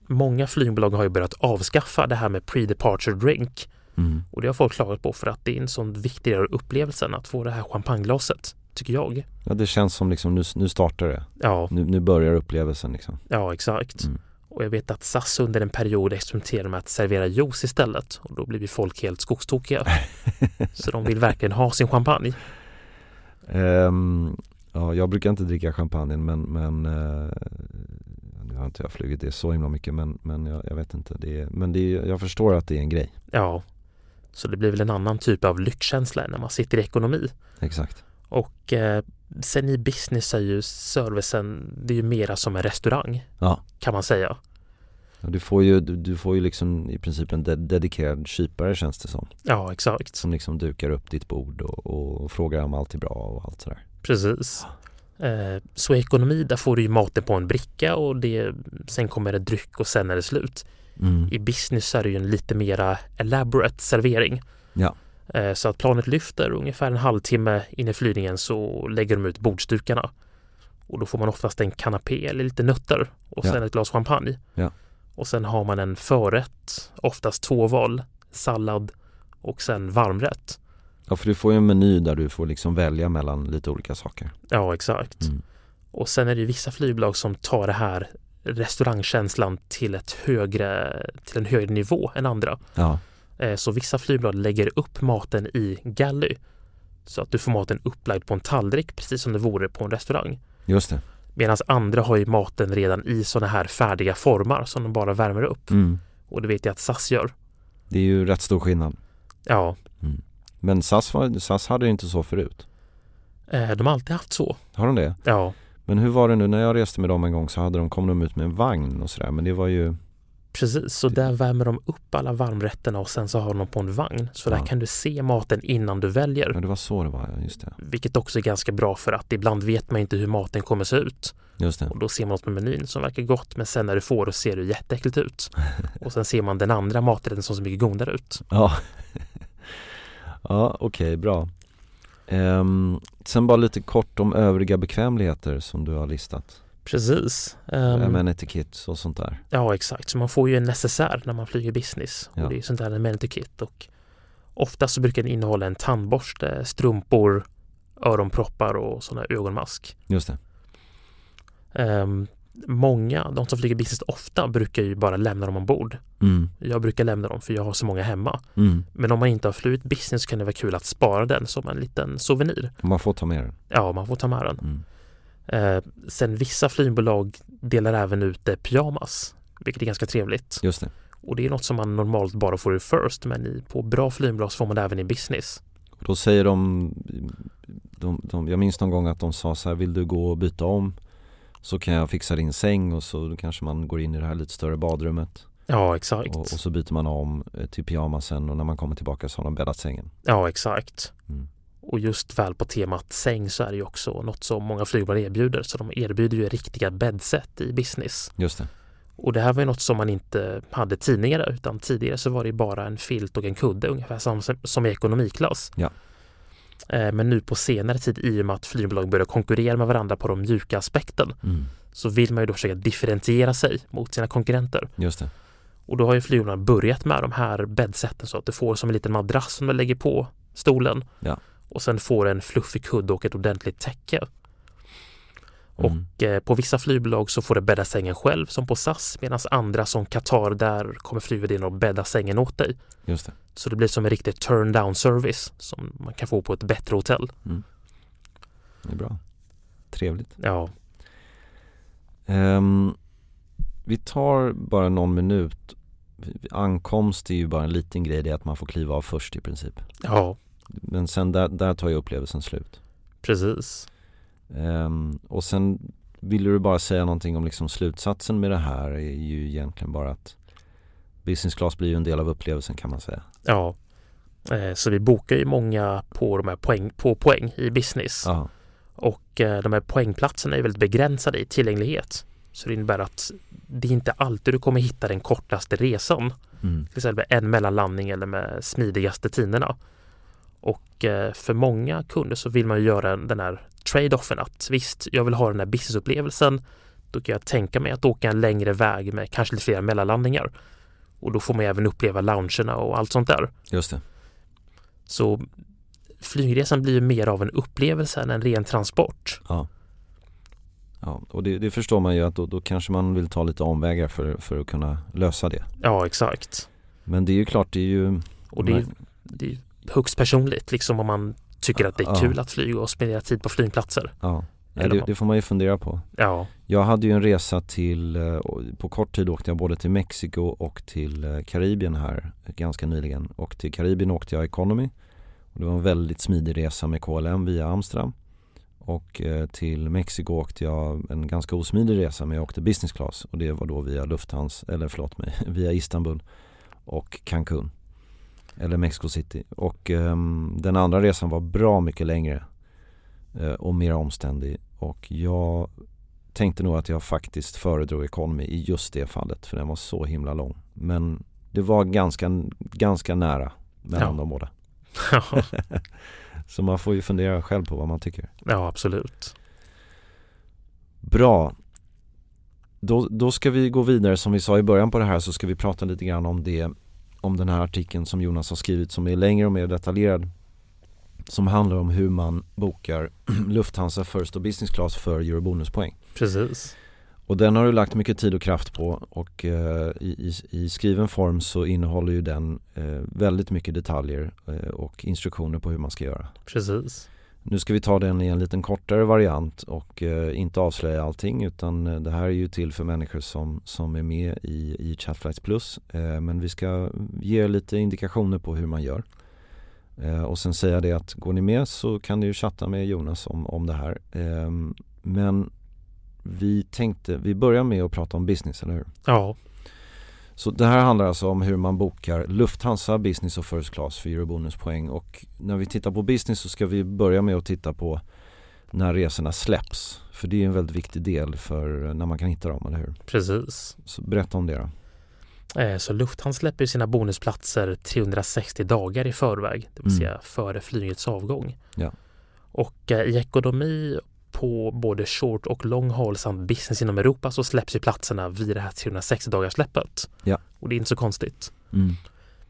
Speaker 4: många flygbolag har ju börjat avskaffa det här med pre-departure drink.
Speaker 3: Mm.
Speaker 4: Och det har folk klagat på för att det är en sån viktig del av upplevelsen att få det här champagneglaset, tycker jag.
Speaker 3: Ja, det känns som liksom nu, nu startar det.
Speaker 4: Ja,
Speaker 3: Nu, nu börjar upplevelsen liksom.
Speaker 4: ja exakt.
Speaker 3: Mm.
Speaker 4: Och jag vet att SAS under en period experimenterade med att servera juice istället och då blir ju folk helt skogstokiga. Så de vill verkligen ha sin champagne.
Speaker 3: Ehm, ja, jag brukar inte dricka champagne men, men eh, nu har inte jag flugit det så himla mycket men, men jag, jag vet inte. Det är, men det är, jag förstår att det är en grej.
Speaker 4: Ja, så det blir väl en annan typ av lyckkänsla när man sitter i ekonomi.
Speaker 3: Exakt.
Speaker 4: Och eh, sen i business är ju servicen, det är ju mera som en restaurang
Speaker 3: Ja.
Speaker 4: kan man säga.
Speaker 3: Ja, Du får ju, du, du får ju liksom i princip en de- dedikerad kypare känns det som.
Speaker 4: Ja, exakt.
Speaker 3: Som liksom dukar upp ditt bord och, och frågar om allt är bra och allt sådär.
Speaker 4: Precis. Eh, Så i ekonomi, där får du ju maten på en bricka och det, sen kommer det dryck och sen är det slut.
Speaker 3: Mm.
Speaker 4: I business är det ju en lite mera elaborate servering.
Speaker 3: Ja.
Speaker 4: Eh, Så att planet lyfter och ungefär en halvtimme in i flygningen så lägger de ut bordsdukarna. Och då får man oftast en kanapé eller lite nötter och
Speaker 3: Ja.
Speaker 4: sen ett glas champagne.
Speaker 3: Ja.
Speaker 4: Och sen har man en förrätt, oftast två val, sallad och sen varmrätt.
Speaker 3: ja, för du får ju en meny där du får liksom välja mellan lite olika saker.
Speaker 4: Ja, exakt.
Speaker 3: Mm.
Speaker 4: Och sen är det ju vissa flygbolag som tar det här restaurangkänslan till, ett högre, till en högre nivå än andra.
Speaker 3: Ja,
Speaker 4: Eh, Så vissa flygbolag lägger upp maten i galley så att du får maten upplagd på en tallrik precis som det vore på en restaurang.
Speaker 3: just det.
Speaker 4: Medan andra har ju maten redan i sådana här färdiga formar som de bara värmer upp.
Speaker 3: Mm.
Speaker 4: Och det vet jag att SAS gör.
Speaker 3: Det är ju rätt stor skillnad.
Speaker 4: Ja,
Speaker 3: Men SAS, var, SAS hade ju inte så förut.
Speaker 4: eh, de har alltid haft så.
Speaker 3: Har de det?
Speaker 4: Ja,
Speaker 3: Men hur var det nu när jag reste med dem en gång så hade de, kom de ut med en vagn och sådär. Men det var ju,
Speaker 4: precis. Så där värmer de upp alla varmrätterna och sen så har de på en vagn. Så där
Speaker 3: Ja.
Speaker 4: kan du se maten innan du väljer.
Speaker 3: ja det var så det var, ja, just det.
Speaker 4: Vilket också är ganska bra för att ibland vet man inte hur maten kommer se ut.
Speaker 3: Just det.
Speaker 4: Och då ser man något med menyn som verkar gott men sen när du får och ser det jätteäckligt ut. Och sen ser man den andra maträtten som ser mycket godare ut.
Speaker 3: Ja, ja okej, bra. Ehm, sen bara lite kort om övriga bekvämligheter som du har listat.
Speaker 4: Precis.
Speaker 3: Um,
Speaker 4: Ehm,
Speaker 3: Amenity kits och sånt där.
Speaker 4: Ja exakt, så man får ju en necessär när man flyger business.
Speaker 3: Ja.
Speaker 4: Och det är ju sånt där amenity kit. Och ofta så brukar den innehålla en tandborste, strumpor, öronproppar och sådana här ögonmask.
Speaker 3: Just det.
Speaker 4: Ehm, många, de som flyger business ofta, brukar ju bara lämna dem ombord.
Speaker 3: Mm,
Speaker 4: Jag brukar lämna dem för jag har så många hemma.
Speaker 3: mm.
Speaker 4: Men om man inte har flugit business så kan det vara kul att spara den som en liten souvenir.
Speaker 3: Man får ta med den.
Speaker 4: Ja, man får ta med den.
Speaker 3: Mm.
Speaker 4: Eh, sen vissa flygbolag delar även ut eh, pyjamas, vilket är ganska trevligt.
Speaker 3: Just det.
Speaker 4: Och det är något som man normalt bara får i first, men i, på bra flygbolag så får man det även i business.
Speaker 3: Och då säger de, de, de, jag minns någon gång att de sa så här, vill du gå och byta om så kan jag fixa din säng och så då kanske man går in i det här lite större badrummet
Speaker 4: Ja, exakt.
Speaker 3: och, och så byter man om eh, till pyjamasen och när man kommer tillbaka så har de bäddat sängen.
Speaker 4: Ja, exakt.
Speaker 3: Mm.
Speaker 4: Och just väl på temat säng så är det ju också något som många flygbolag erbjuder, så de erbjuder ju riktiga bäddset i business.
Speaker 3: Just det.
Speaker 4: Och det här var ju något som man inte hade tidigare utan tidigare så var det ju bara en filt och en kudde ungefär som, som i ekonomiklass.
Speaker 3: Ja.
Speaker 4: Eh, Men nu på senare tid i och med att flygbolag börjar konkurrera med varandra på de mjuka aspekten
Speaker 3: Mm.
Speaker 4: så vill man ju då försöka differentiera sig mot sina konkurrenter.
Speaker 3: Just det.
Speaker 4: Och då har ju flygbolagen börjat med de här bäddsätten så att du får som en liten madrass som du lägger på stolen
Speaker 3: Ja.
Speaker 4: och sen får du en fluffig kudde och ett ordentligt täcke.
Speaker 3: Mm.
Speaker 4: Och eh, på vissa flygbolag så får du bädda sängen själv som på SAS medan andra som Qatar där kommer flygvärdinnan och bädda sängen åt dig.
Speaker 3: Just det.
Speaker 4: Så det blir som en riktig turn down service som man kan få på ett bättre hotell.
Speaker 3: Det är bra. Trevligt.
Speaker 4: Ja,
Speaker 3: Ehm, vi tar bara någon minut. Ankomst är ju bara en liten grej, det är att man får kliva av först i princip.
Speaker 4: ja
Speaker 3: Men sen där, där tar ju upplevelsen slut.
Speaker 4: precis.
Speaker 3: Ehm, och sen ville du bara säga någonting om liksom slutsatsen med det här är ju egentligen bara att business class blir ju en del av upplevelsen kan man säga.
Speaker 4: Ja. Eh, Så vi bokar ju många på, de här poäng, på poäng i business.
Speaker 3: Ja,
Speaker 4: Och eh, de här poängplatserna är väldigt begränsade i tillgänglighet. Så det innebär att det är inte alltid du kommer hitta den kortaste resan.
Speaker 3: mm.
Speaker 4: Till exempel en mellanlandning eller med smidigaste tiderna. Och eh, för många kunder så vill man ju göra den här trade-offen att visst, jag vill ha den här businessupplevelsen. Då kan jag tänka mig att åka en längre väg med kanske lite fler mellanlandningar. Och då får man ju även uppleva loungerna och allt sånt där.
Speaker 3: just det.
Speaker 4: Så flygresan blir ju mer av en upplevelse än en ren transport.
Speaker 3: Ja. Ja, och det, det förstår man ju att då, då kanske man vill ta lite omvägar för, för att kunna lösa det.
Speaker 4: Ja, exakt.
Speaker 3: Men det är ju klart, det är ju
Speaker 4: Och det är, ju- det är ju högst personligt liksom om man tycker att det är
Speaker 3: Ja.
Speaker 4: kul att flyga och spendera tid på flygplatser.
Speaker 3: Ja, Nej,
Speaker 4: Eller
Speaker 3: det,
Speaker 4: vad-
Speaker 3: det får man ju fundera på.
Speaker 4: Ja,
Speaker 3: Jag hade ju en resa till, eh, och på kort tid åkte jag både till Mexiko och till eh, Karibien här eh, ganska nyligen. Och till Karibien åkte jag Economy. Och det var en väldigt smidig resa med KLM via Amsterdam. Och eh, till Mexiko åkte jag en ganska osmidig resa men jag åkte business class och det var då via Lufthansa, eller förlåt mig, via Istanbul och Cancun. Eller Mexico City. Och ehm, den andra resan var bra mycket längre eh, och mer omständig. Och jag tänkte nog att jag faktiskt föredrog Economy i just det fallet för den var så himla lång. Men det var ganska, ganska nära mellan
Speaker 4: Ja.
Speaker 3: de båda.
Speaker 4: Ja,
Speaker 3: Så man får ju fundera själv på vad man tycker.
Speaker 4: ja absolut.
Speaker 3: Bra. Då, då ska vi gå vidare som vi sa i början på det här så ska vi prata lite grann om det om den här artikeln som Jonas har skrivit som är längre och mer detaljerad som handlar om hur man bokar Lufthansa First och Business Class för Eurobonuspoäng.
Speaker 4: Precis.
Speaker 3: Och den har du lagt mycket tid och kraft på och eh, i, i, i skriven form så innehåller ju den eh, väldigt mycket detaljer eh, och instruktioner på hur man ska göra.
Speaker 4: Precis.
Speaker 3: Nu ska vi ta den i en liten kortare variant och eh, inte avslöja allting utan eh, det här är ju till för människor som, som är med i, i Chatflights Plus. Eh, men vi ska ge lite indikationer på hur man gör. Eh, och sen säga det att går ni med så kan ni ju chatta med Jonas om, om det här. Eh, men vi tänkte, vi börjar med att prata om business, eller hur?
Speaker 4: Ja,
Speaker 3: Så det här handlar alltså om hur man bokar Lufthansa Business och First Class för Eurobonuspoäng och när vi tittar på business så ska vi börja med att titta på när resorna släpps. För det är ju en väldigt viktig del för när man kan hitta dem, eller hur?
Speaker 4: precis.
Speaker 3: Så berätta om det då.
Speaker 4: Eh, Så Lufthansa släpper ju sina bonusplatser 360 dagar i förväg, det vill
Speaker 3: Mm.
Speaker 4: säga före flygets avgång.
Speaker 3: Ja.
Speaker 4: Och eh, i ekonomi på både short och long haul samt business inom Europa så släpps ju platserna vid det här 360 dagars släppet.
Speaker 3: Ja.
Speaker 4: Och det är inte så konstigt.
Speaker 3: Mm.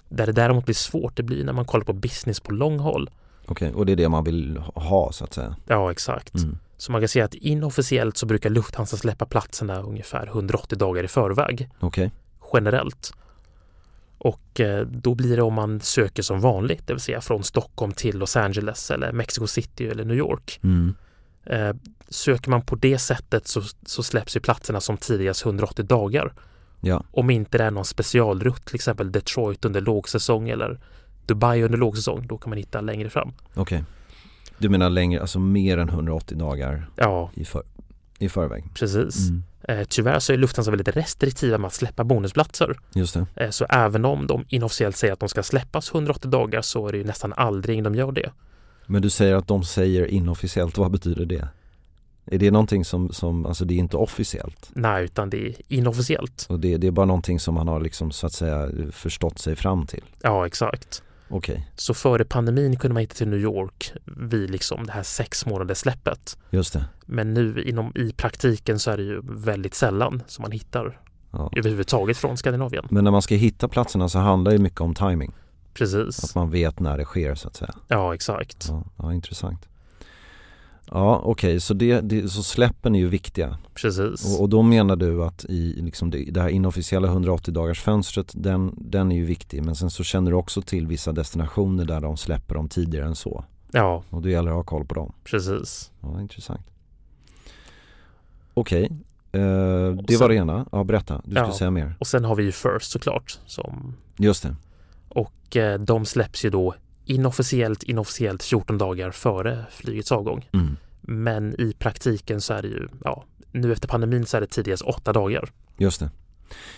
Speaker 4: Där det däremot blir svårt, det blir när man kollar på business på long haul.
Speaker 3: Okej, och det är det man vill ha så att säga.
Speaker 4: Ja, exakt.
Speaker 3: Mm.
Speaker 4: Så man kan säga att inofficiellt så brukar Lufthansa släppa platserna ungefär 180 dagar i förväg.
Speaker 3: Okej,
Speaker 4: generellt. Och eh, då blir det om man söker som vanligt, det vill säga från Stockholm till Los Angeles eller Mexico City eller New York.
Speaker 3: mm.
Speaker 4: Eh, Söker man på det sättet så, så släpps ju platserna som tidigast 180 dagar.
Speaker 3: ja,
Speaker 4: Om inte det är någon specialrutt, till exempel Detroit under lågsäsong eller Dubai under lågsäsong, då kan man hitta längre fram.
Speaker 3: okej. Du menar längre, alltså mer än 180 dagar
Speaker 4: Ja,
Speaker 3: i, för, i förväg?
Speaker 4: precis.
Speaker 3: Mm.
Speaker 4: Eh, Tyvärr så är Lufthansa väldigt restriktiva med att släppa bonusplatser.
Speaker 3: Just det,
Speaker 4: Eh, Så även om de inofficiellt säger att de ska släppas 180 dagar så är det ju nästan aldrig de gör det.
Speaker 3: men du säger att de säger inofficiellt, vad betyder det? Är det någonting som, som alltså det är inte officiellt?
Speaker 4: Nej, utan det är inofficiellt.
Speaker 3: Och det, det är bara någonting som man har liksom så att säga förstått sig fram till.
Speaker 4: Ja, exakt.
Speaker 3: Okej,
Speaker 4: Så före pandemin kunde man hitta till New York vid liksom det här sex månaders släppet.
Speaker 3: just det.
Speaker 4: Men nu inom, i praktiken så är det ju väldigt sällan som man hittar
Speaker 3: Ja.
Speaker 4: överhuvudtaget från Skandinavien.
Speaker 3: Men när man ska hitta platserna så handlar det mycket om timing. Att
Speaker 4: Precis.
Speaker 3: man vet när det sker så att säga.
Speaker 4: Ja, exakt.
Speaker 3: Ja, ja intressant. Ja, okej, så, det, det, så släppen är ju viktiga.
Speaker 4: Precis.
Speaker 3: Och, och då menar du att i liksom det, det här inofficiella 180 dagars fönstret, den, den är ju viktig. Men sen så känner du också till vissa destinationer där de släpper dem tidigare än så.
Speaker 4: Ja,
Speaker 3: Och då gäller det att ha koll på dem.
Speaker 4: precis.
Speaker 3: Ja, intressant. Okej, eh,
Speaker 4: Och
Speaker 3: det
Speaker 4: sen-
Speaker 3: var det ena. Ja, berätta. Du skulle
Speaker 4: Ja.
Speaker 3: säga mer.
Speaker 4: Och sen har vi ju First såklart. Som,
Speaker 3: Just det.
Speaker 4: och eh, de släpps ju då inofficiellt, inofficiellt 14 dagar före flygets avgång.
Speaker 3: Mm.
Speaker 4: Men i praktiken så är det ju, ja, nu efter pandemin så är det tidigast åtta dagar.
Speaker 3: Just det.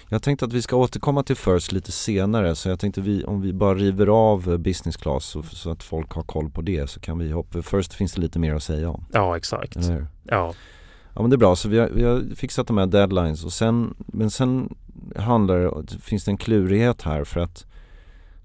Speaker 3: Jag tänkte att vi ska återkomma till First lite senare så jag tänkte vi, om vi bara river av eh, business class så, så att folk har koll på det så kan vi hoppa. First finns det lite mer att säga om,
Speaker 4: Ja, exakt.
Speaker 3: eller hur?
Speaker 4: Ja,
Speaker 3: Ja men det är bra, så vi har, vi har fixat de här deadlines och sen, men sen handlar det, finns det en klurighet här för att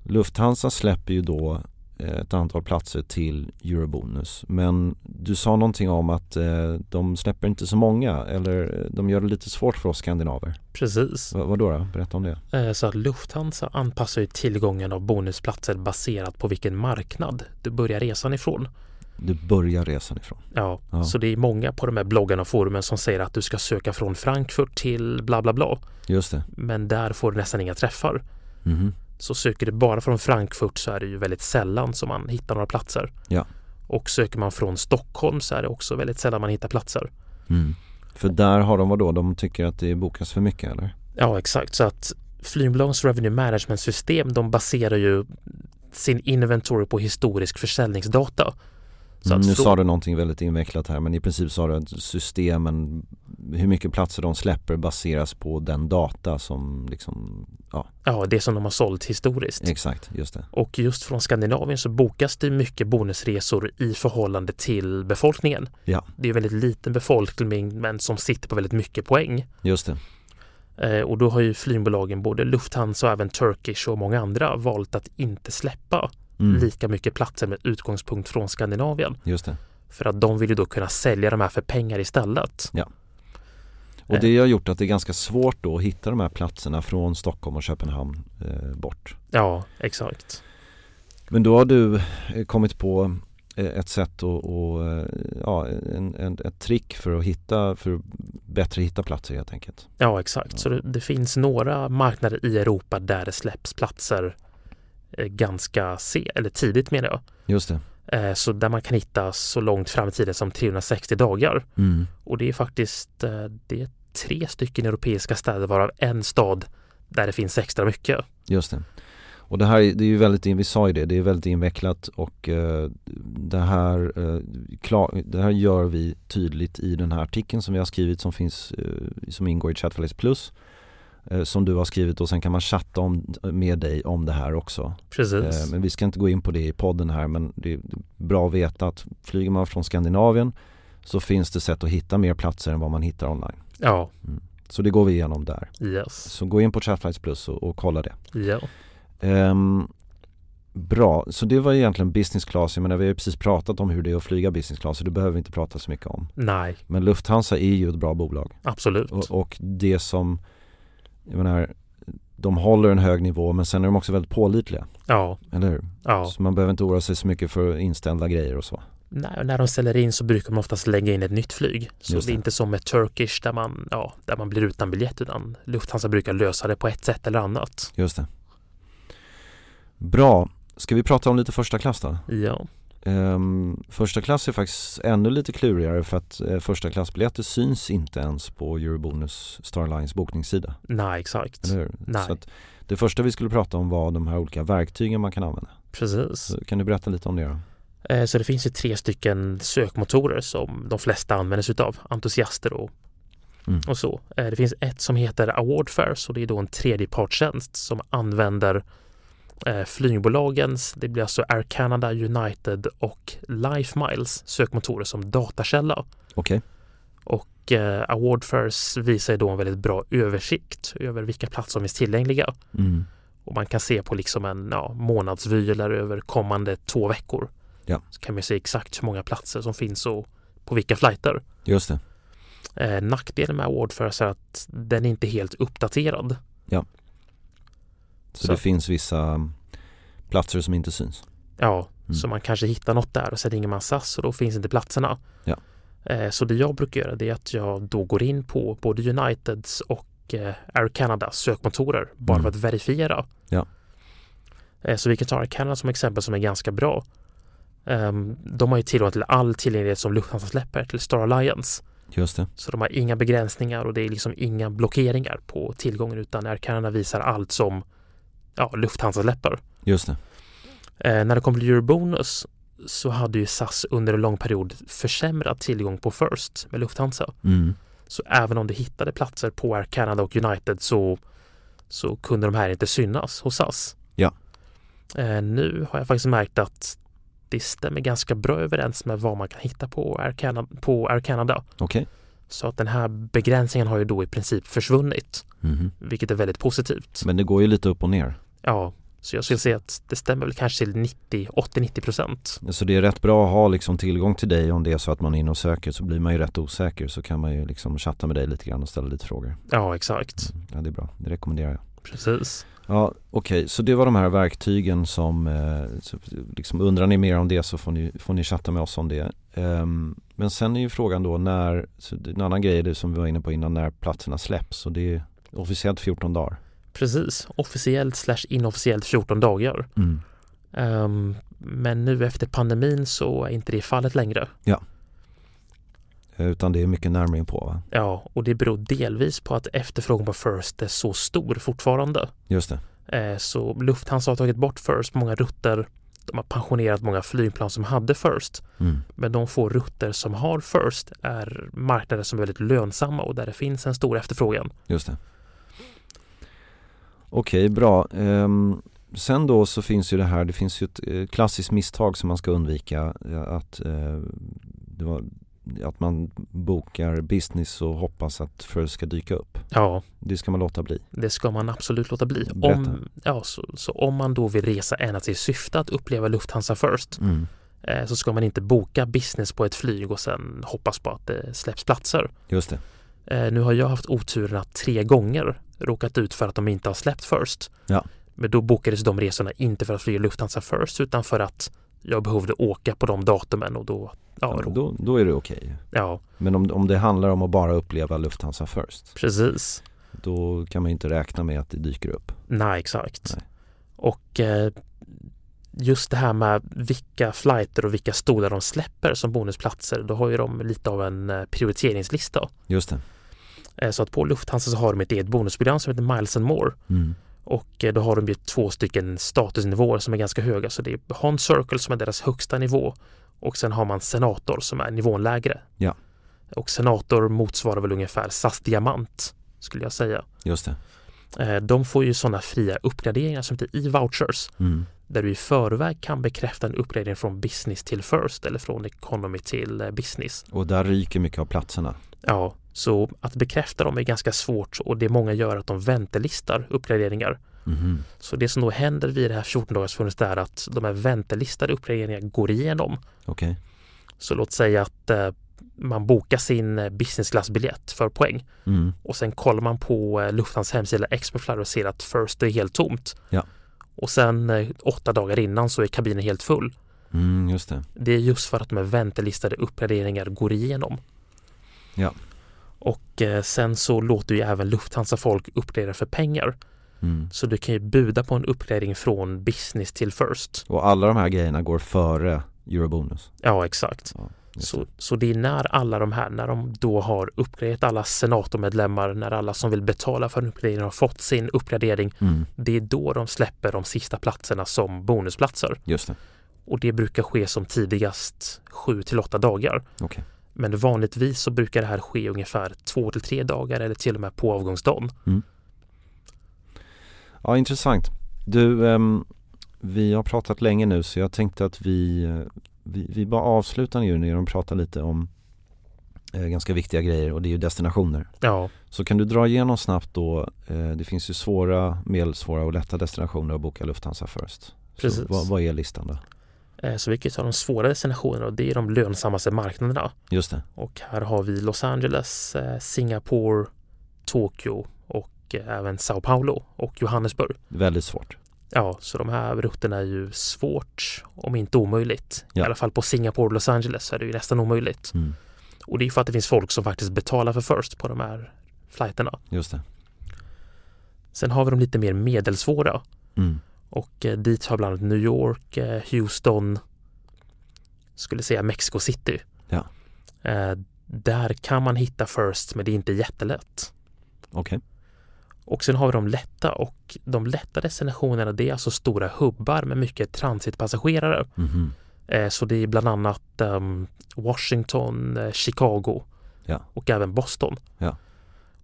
Speaker 3: Lufthansa släpper ju då eh, ett antal platser till Eurobonus men du sa någonting om att eh, de släpper inte så många eller eh, de gör det lite svårt för oss skandinaver.
Speaker 4: precis.
Speaker 3: Va, vadå då? Berätta om det.
Speaker 4: Eh, Så att Lufthansa anpassar ju tillgången av bonusplatser baserat på vilken marknad du börjar resan ifrån.
Speaker 3: Du börjar resan ifrån.
Speaker 4: Ja,
Speaker 3: Ja.
Speaker 4: så det är många på de här bloggarna och forumen som säger att du ska söka från Frankfurt till bla bla bla.
Speaker 3: Just det.
Speaker 4: Men där får du nästan inga träffar.
Speaker 3: Mhm.
Speaker 4: Så söker du bara från Frankfurt så är det ju väldigt sällan som man hittar några platser.
Speaker 3: Ja.
Speaker 4: Och söker man från Stockholm så är det också väldigt sällan man hittar platser.
Speaker 3: Mm. För där har de vadå? De tycker att det bokas för mycket eller?
Speaker 4: Ja, exakt. Så att flygbolagens revenue management system, de baserar ju sin inventory på historisk försäljningsdata. Så att
Speaker 3: Mm, nu
Speaker 4: frå-
Speaker 3: sa du någonting väldigt invecklat här men i princip sa du att systemen, hur mycket platser de släpper baseras på den data som liksom, ja
Speaker 4: ja, det som de har sålt historiskt.
Speaker 3: exakt, just det.
Speaker 4: Och just från Skandinavien så bokas det mycket bonusresor i förhållande till befolkningen.
Speaker 3: Ja,
Speaker 4: Det är ju väldigt liten befolkning men som sitter på väldigt mycket poäng.
Speaker 3: just det.
Speaker 4: Eh, och då har ju flygbolagen både Lufthansa och även Turkish och många andra valt att inte släppa
Speaker 3: Mm,
Speaker 4: lika mycket platser med utgångspunkt från Skandinavien.
Speaker 3: just det.
Speaker 4: För att de vill ju då kunna sälja de här för pengar istället.
Speaker 3: Och
Speaker 4: Eh.
Speaker 3: det har gjort att det är ganska svårt då att hitta de här platserna från Stockholm och Köpenhamn eh, bort.
Speaker 4: Ja, exakt.
Speaker 3: Men då har du eh, kommit på eh, ett sätt och, och eh, ja, en, en, ett trick för att hitta, för att bättre hitta platser helt enkelt.
Speaker 4: Ja, exakt. Så det, det finns några marknader i Europa där det släpps platser eh, ganska se, eller tidigt menar jag.
Speaker 3: Just det.
Speaker 4: Eh, så där man kan hitta så långt fram i tiden som 360 dagar.
Speaker 3: Mm.
Speaker 4: Och det är faktiskt eh, det är tre stycken europeiska städer varav en stad där det finns extra mycket.
Speaker 3: Just det. Och det här är- det är ju väldigt, in- vi sa ju det, det är väldigt invecklat och eh, det, här, eh, klar, det här gör vi tydligt i den här artikeln som vi har skrivit som finns, eh, som ingår i Chatfalace Plus eh, som du har skrivit och sen kan man chatta om, med dig om det här också.
Speaker 4: Precis.
Speaker 3: Eh, Men vi ska inte gå in på det i podden här men det är bra att veta att flyger man från Skandinavien så finns det sätt att hitta mer platser än vad man hittar online.
Speaker 4: Ja,
Speaker 3: Så det går vi igenom där.
Speaker 4: yes.
Speaker 3: Så gå in på Chatflights Plus och, och kolla det.
Speaker 4: Ja.
Speaker 3: Ehm, bra, så det var egentligen business class. Jag menar, vi har ju precis pratat om hur det är att flyga business class så det behöver vi inte prata så mycket om.
Speaker 4: Nej,
Speaker 3: Men Lufthansa är ju ett bra bolag
Speaker 4: absolut.
Speaker 3: och, och det som, jag menar, de håller en hög nivå men sen är de också väldigt pålitliga,
Speaker 4: Ja,
Speaker 3: eller hur?
Speaker 4: ja.
Speaker 3: Så man behöver inte oroa sig så mycket för inställda grejer och så.
Speaker 4: När, när de säljer in så brukar man oftast lägga in ett nytt flyg. Så
Speaker 3: Just
Speaker 4: det är
Speaker 3: det.
Speaker 4: inte som med Turkish där man, ja, där man blir utan biljett utan Lufthansa brukar lösa det på ett sätt eller annat.
Speaker 3: Just det. Bra, ska vi prata om lite första klass då?
Speaker 4: Ja,
Speaker 3: Ehm, första klass är faktiskt ännu lite klurigare för att eh, första klassbiljetter syns inte ens på Eurobonus Starlines bokningssida.
Speaker 4: nej exakt.
Speaker 3: Eller hur?
Speaker 4: Nej.
Speaker 3: Mm. Så att det första vi skulle prata om var de här olika verktygen man kan använda.
Speaker 4: Precis.
Speaker 3: Så kan du berätta lite om det då?
Speaker 4: Eh, Så det finns ju tre stycken sökmotorer som de flesta använder sig utav, entusiaster och,
Speaker 3: Mm.
Speaker 4: och så. Eh, Det finns ett som heter Awardfares och det är då en tredjepartstjänst som använder eh, flygbolagens, det blir alltså Air Canada, United och LifeMiles sökmotorer som datakälla.
Speaker 3: Okej,
Speaker 4: Och eh, Awardfares visar ju då en väldigt bra översikt över vilka platser som finns tillgängliga.
Speaker 3: mm.
Speaker 4: Och man kan se på liksom en ja, månadsvy eller över kommande två veckor.
Speaker 3: Ja.
Speaker 4: Så kan man se exakt hur många platser som finns och på vilka flighter.
Speaker 3: just det.
Speaker 4: Eh, nackdelen med Awardfares är att den är inte helt uppdaterad.
Speaker 3: Så,
Speaker 4: Så.
Speaker 3: det finns vissa mm, platser som inte syns.
Speaker 4: Ja,
Speaker 3: Mm.
Speaker 4: så man kanske hittar något där och sen ringer man SAS och då finns inte platserna.
Speaker 3: Ja.
Speaker 4: Eh, så det jag brukar göra det är att jag då går in på både Uniteds och eh, Air Canadas sökmotorer bara
Speaker 3: Mm.
Speaker 4: för att verifiera.
Speaker 3: Ja.
Speaker 4: Eh, så vi kan ta Air Canada som exempel som är ganska bra. Ehm, de har ju tillgång till all tillgänglighet som Lufthansa släpper till Star Alliance.
Speaker 3: Just det,
Speaker 4: Så de har inga begränsningar och det är liksom inga blockeringar på tillgången utan Air Canada visar allt som ja, Lufthansa släpper.
Speaker 3: just det.
Speaker 4: Eh, när det kom till Eurobonus så hade ju SAS under en lång period försämrat tillgång på First med Lufthansa.
Speaker 3: Mm.
Speaker 4: Så även om du hittade platser på Air Canada och United så, så kunde de här inte synas hos SAS.
Speaker 3: Ja.
Speaker 4: Eh, nu har jag faktiskt märkt att det stämmer ganska bra överens med vad man kan hitta på Air Canada. På Air Canada.
Speaker 3: Okej.
Speaker 4: Så att den här begränsningen har ju då i princip försvunnit,
Speaker 3: Mhm.
Speaker 4: vilket är väldigt positivt.
Speaker 3: Men det går ju lite upp och ner.
Speaker 4: Ja, så jag skulle säga att det stämmer väl kanske till 90, 80-90 procent.
Speaker 3: Så det är rätt bra att ha liksom tillgång till dig om det är så att man är inne och söker så blir man ju rätt osäker så kan man ju liksom chatta med dig lite grann och ställa lite frågor.
Speaker 4: Ja, exakt.
Speaker 3: Ja det är bra, det rekommenderar jag.
Speaker 4: Precis.
Speaker 3: Ja okej, så det var de här verktygen som, eh, så, liksom, undrar ni mer om det så får ni, får ni chatta med oss om det. Ehm, men sen är ju frågan då när, så det- en annan grej är det som vi var inne på innan, när platserna släpps och det är officiellt 14 dagar.
Speaker 4: Precis. Officiellt slash inofficiellt 14 dagar. Ehm, men nu efter pandemin så är inte det fallet längre.
Speaker 3: Eh, Utan det är mycket närmare inpå va?
Speaker 4: Ja, och det beror delvis på att efterfrågan på First är så stor fortfarande.
Speaker 3: Just det,
Speaker 4: Eh, så Lufthansa har tagit bort First på många rutter. de har pensionerat många flygplan som hade First.
Speaker 3: Mm.
Speaker 4: Men de få rutter som har First är marknader som är väldigt lönsamma och där det finns en stor efterfrågan.
Speaker 3: Just det. Okej, bra. Ehm, sen då så finns ju det här, det finns ju ett eh, klassiskt misstag som man ska undvika. eh, Att, eh, det var, att man bokar business och hoppas att First ska dyka upp.
Speaker 4: Ja,
Speaker 3: Det ska man låta bli.
Speaker 4: det ska man absolut låta bli.
Speaker 3: Berätta.
Speaker 4: Om, ja, så, så om man då vill resa endast i syfte att uppleva Lufthansa First
Speaker 3: Mm.
Speaker 4: eh, så ska man inte boka business på ett flyg och sen hoppas på att det släpps platser.
Speaker 3: Just det.
Speaker 4: Eh, nu har jag haft oturen att tre gånger råkat ut för att de inte har släppt First.
Speaker 3: Ja.
Speaker 4: Men då bokades de resorna inte för att flyga Lufthansa First utan för att jag behövde åka på de datumen och då... Ja,
Speaker 3: Ja,
Speaker 4: rå-
Speaker 3: då, då är det okej.
Speaker 4: ja
Speaker 3: Men om, om det handlar om att bara uppleva Lufthansa First,
Speaker 4: precis.
Speaker 3: då kan man ju inte räkna med att det dyker upp.
Speaker 4: Nej, exakt.
Speaker 3: Nej.
Speaker 4: Och eh, just det här med vilka flighter och vilka stolar de släpper som bonusplatser, då har ju de lite av en eh, prioriteringslista.
Speaker 3: Just det.
Speaker 4: Eh, Så att på Lufthansa så har de ett eget bonusprogram som heter Miles and More.
Speaker 3: Mm.
Speaker 4: Och eh, då har de ju två stycken statusnivåer som är ganska höga. Så det är Hon Circle som är deras högsta nivå och sen har man Senator som är nivån lägre.
Speaker 3: Ja.
Speaker 4: Och Senator motsvarar väl ungefär SAS Diamant skulle jag säga.
Speaker 3: Just det.
Speaker 4: Eh, De får ju sådana fria uppgraderingar som heter e-vouchers
Speaker 3: Mm.
Speaker 4: där du i förväg kan bekräfta en uppgradering från business till first eller från economy till eh, business.
Speaker 3: Och där ryker mycket av platserna.
Speaker 4: Ja, så att bekräfta dem är ganska svårt och det många gör att de väntelistar uppgraderingar.
Speaker 3: Mhm.
Speaker 4: Så det som då händer vid det här 14-dagarsfönstret är att de här väntelistade uppgraderingarna går igenom.
Speaker 3: Okej.
Speaker 4: Så låt säga att eh, man bokar sin eh, business class-biljett för poäng
Speaker 3: Mm.
Speaker 4: och sen kollar man på eh, Lufthansa hemsida Expoflyer och ser att First är helt tomt.
Speaker 3: Ja.
Speaker 4: Och sen eh, åtta dagar innan så är kabinen helt full.
Speaker 3: Mm, just det.
Speaker 4: Det är just för att de här väntelistade uppgraderingar går igenom.
Speaker 3: Ja.
Speaker 4: Och eh, sen så låter ju även Lufthansa folk uppgradera för pengar.
Speaker 3: Mm.
Speaker 4: Så du kan ju buda på en uppgradering från business till first.
Speaker 3: Och alla de här grejerna går före eurobonus.
Speaker 4: Ja, exakt.
Speaker 3: Ja, just
Speaker 4: Så, så det är när alla de här, när de då har uppgraderat alla senatormedlemmar, när alla som vill betala för en uppgradering har fått sin uppgradering,
Speaker 3: Mm,
Speaker 4: det är då de släpper de sista platserna som bonusplatser.
Speaker 3: just det.
Speaker 4: Och det brukar ske som tidigast 7 till 8 dagar.
Speaker 3: Okej.
Speaker 4: Men vanligtvis så brukar det här ske ungefär 2 till 3 dagar eller till och med på avgångsdagen.
Speaker 3: Ja, intressant. Du, ehm, vi har pratat länge nu så jag tänkte att vi, eh, vi, vi bara avslutar nu genom att prata lite om eh, ganska viktiga grejer och det är ju destinationer.
Speaker 4: Ja,
Speaker 3: Så kan du dra igenom snabbt då, eh, det finns ju svåra, medelsvåra och lätta destinationer att boka Lufthansa First. Så
Speaker 4: Precis.
Speaker 3: vad, vad är listan då?
Speaker 4: eh, så vi kan ju ta de svåra destinationerna och det är de lönsammaste marknaderna.
Speaker 3: Just det,
Speaker 4: Och här har vi Los Angeles, eh, Singapore, Tokyo och eh, även Sao Paulo och Johannesburg.
Speaker 3: väldigt svårt.
Speaker 4: Ja, så de här rutterna är ju svårt, om inte omöjligt.
Speaker 3: Ja.
Speaker 4: I alla fall på Singapore och Los Angeles så är det ju nästan omöjligt.
Speaker 3: Mm,
Speaker 4: Och det är ju för att det finns folk som faktiskt betalar för First på de här flighterna.
Speaker 3: just det.
Speaker 4: Sen har vi de lite mer medelsvåra
Speaker 3: Mm,
Speaker 4: och eh, dit har bland annat New York, eh, Houston, skulle säga Mexico City.
Speaker 3: Ja.
Speaker 4: Eh, där kan man hitta First men det är inte jättelätt.
Speaker 3: okej.
Speaker 4: Och sen har vi de lätta och de lätta destinationerna det är alltså stora hubbar med mycket transitpassagerare.
Speaker 3: Mhm,
Speaker 4: Eh, så det är bland annat ehm, Washington, eh, Chicago
Speaker 3: Ja.
Speaker 4: och även Boston.
Speaker 3: Ja.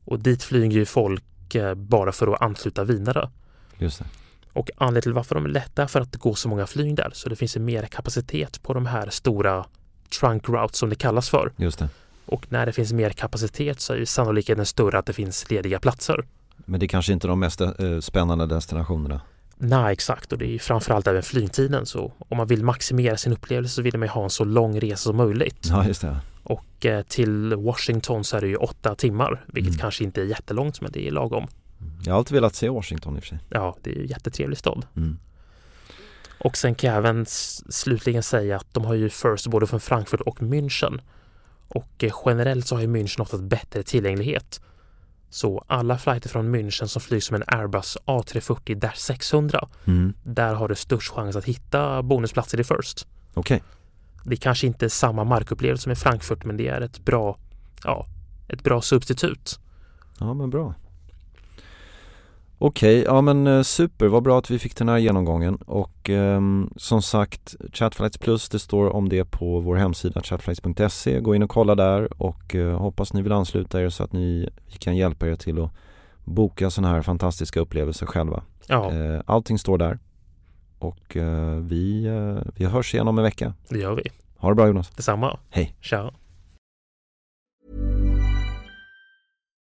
Speaker 4: Och dit flyger ju folk eh, bara för att ansluta vidare.
Speaker 3: just det.
Speaker 4: Och anledningen till varför de är lätta är för att det går så många flyg där så det finns ju mer kapacitet på de här stora trunk routes som det kallas för.
Speaker 3: Just det.
Speaker 4: Och när det finns mer kapacitet så är ju sannolikheten större att det finns lediga platser.
Speaker 3: Men det är kanske inte de mest eh, spännande destinationerna.
Speaker 4: Nej, exakt. Och det är ju framförallt även flygtiden. Så om man vill maximera sin upplevelse så vill man ju ha en så lång resa som möjligt.
Speaker 3: Ja, just det.
Speaker 4: Och eh, till Washington så är det ju åtta timmar, vilket
Speaker 3: Mm.
Speaker 4: kanske inte är jättelångt, men det är lagom.
Speaker 3: Jag har alltid velat se Washington i och för sig.
Speaker 4: Ja, det är ju en jättetrevlig stad.
Speaker 3: Mm.
Speaker 4: Och sen kan jag även s- slutligen säga att de har ju First både från Frankfurt och München. Och eh, generellt så har ju München ofta bättre tillgänglighet. Så alla flighter från München som flygs med en Airbus A340-600,
Speaker 3: Mm.
Speaker 4: där har du störst chans att hitta bonusplatser i First.
Speaker 3: Okej,
Speaker 4: Det är kanske inte är samma markupplevelse som i Frankfurt men det är ett bra, ja, ett bra substitut.
Speaker 3: ja men bra. Okej, ja men eh, super, vad bra att vi fick den här genomgången och ehm, som sagt Chatflights Plus, det står om det på vår hemsida chatflights.se. Gå in och kolla där och eh, hoppas ni vill ansluta er så att ni vi kan hjälpa er till att boka sådana här fantastiska upplevelser själva.
Speaker 5: Ja,
Speaker 3: Eh, allting står där och eh, vi, eh, vi hörs igen om en vecka.
Speaker 5: det gör vi.
Speaker 3: Ha det bra Jonas.
Speaker 5: Detsamma.
Speaker 3: Hej.
Speaker 5: Ciao.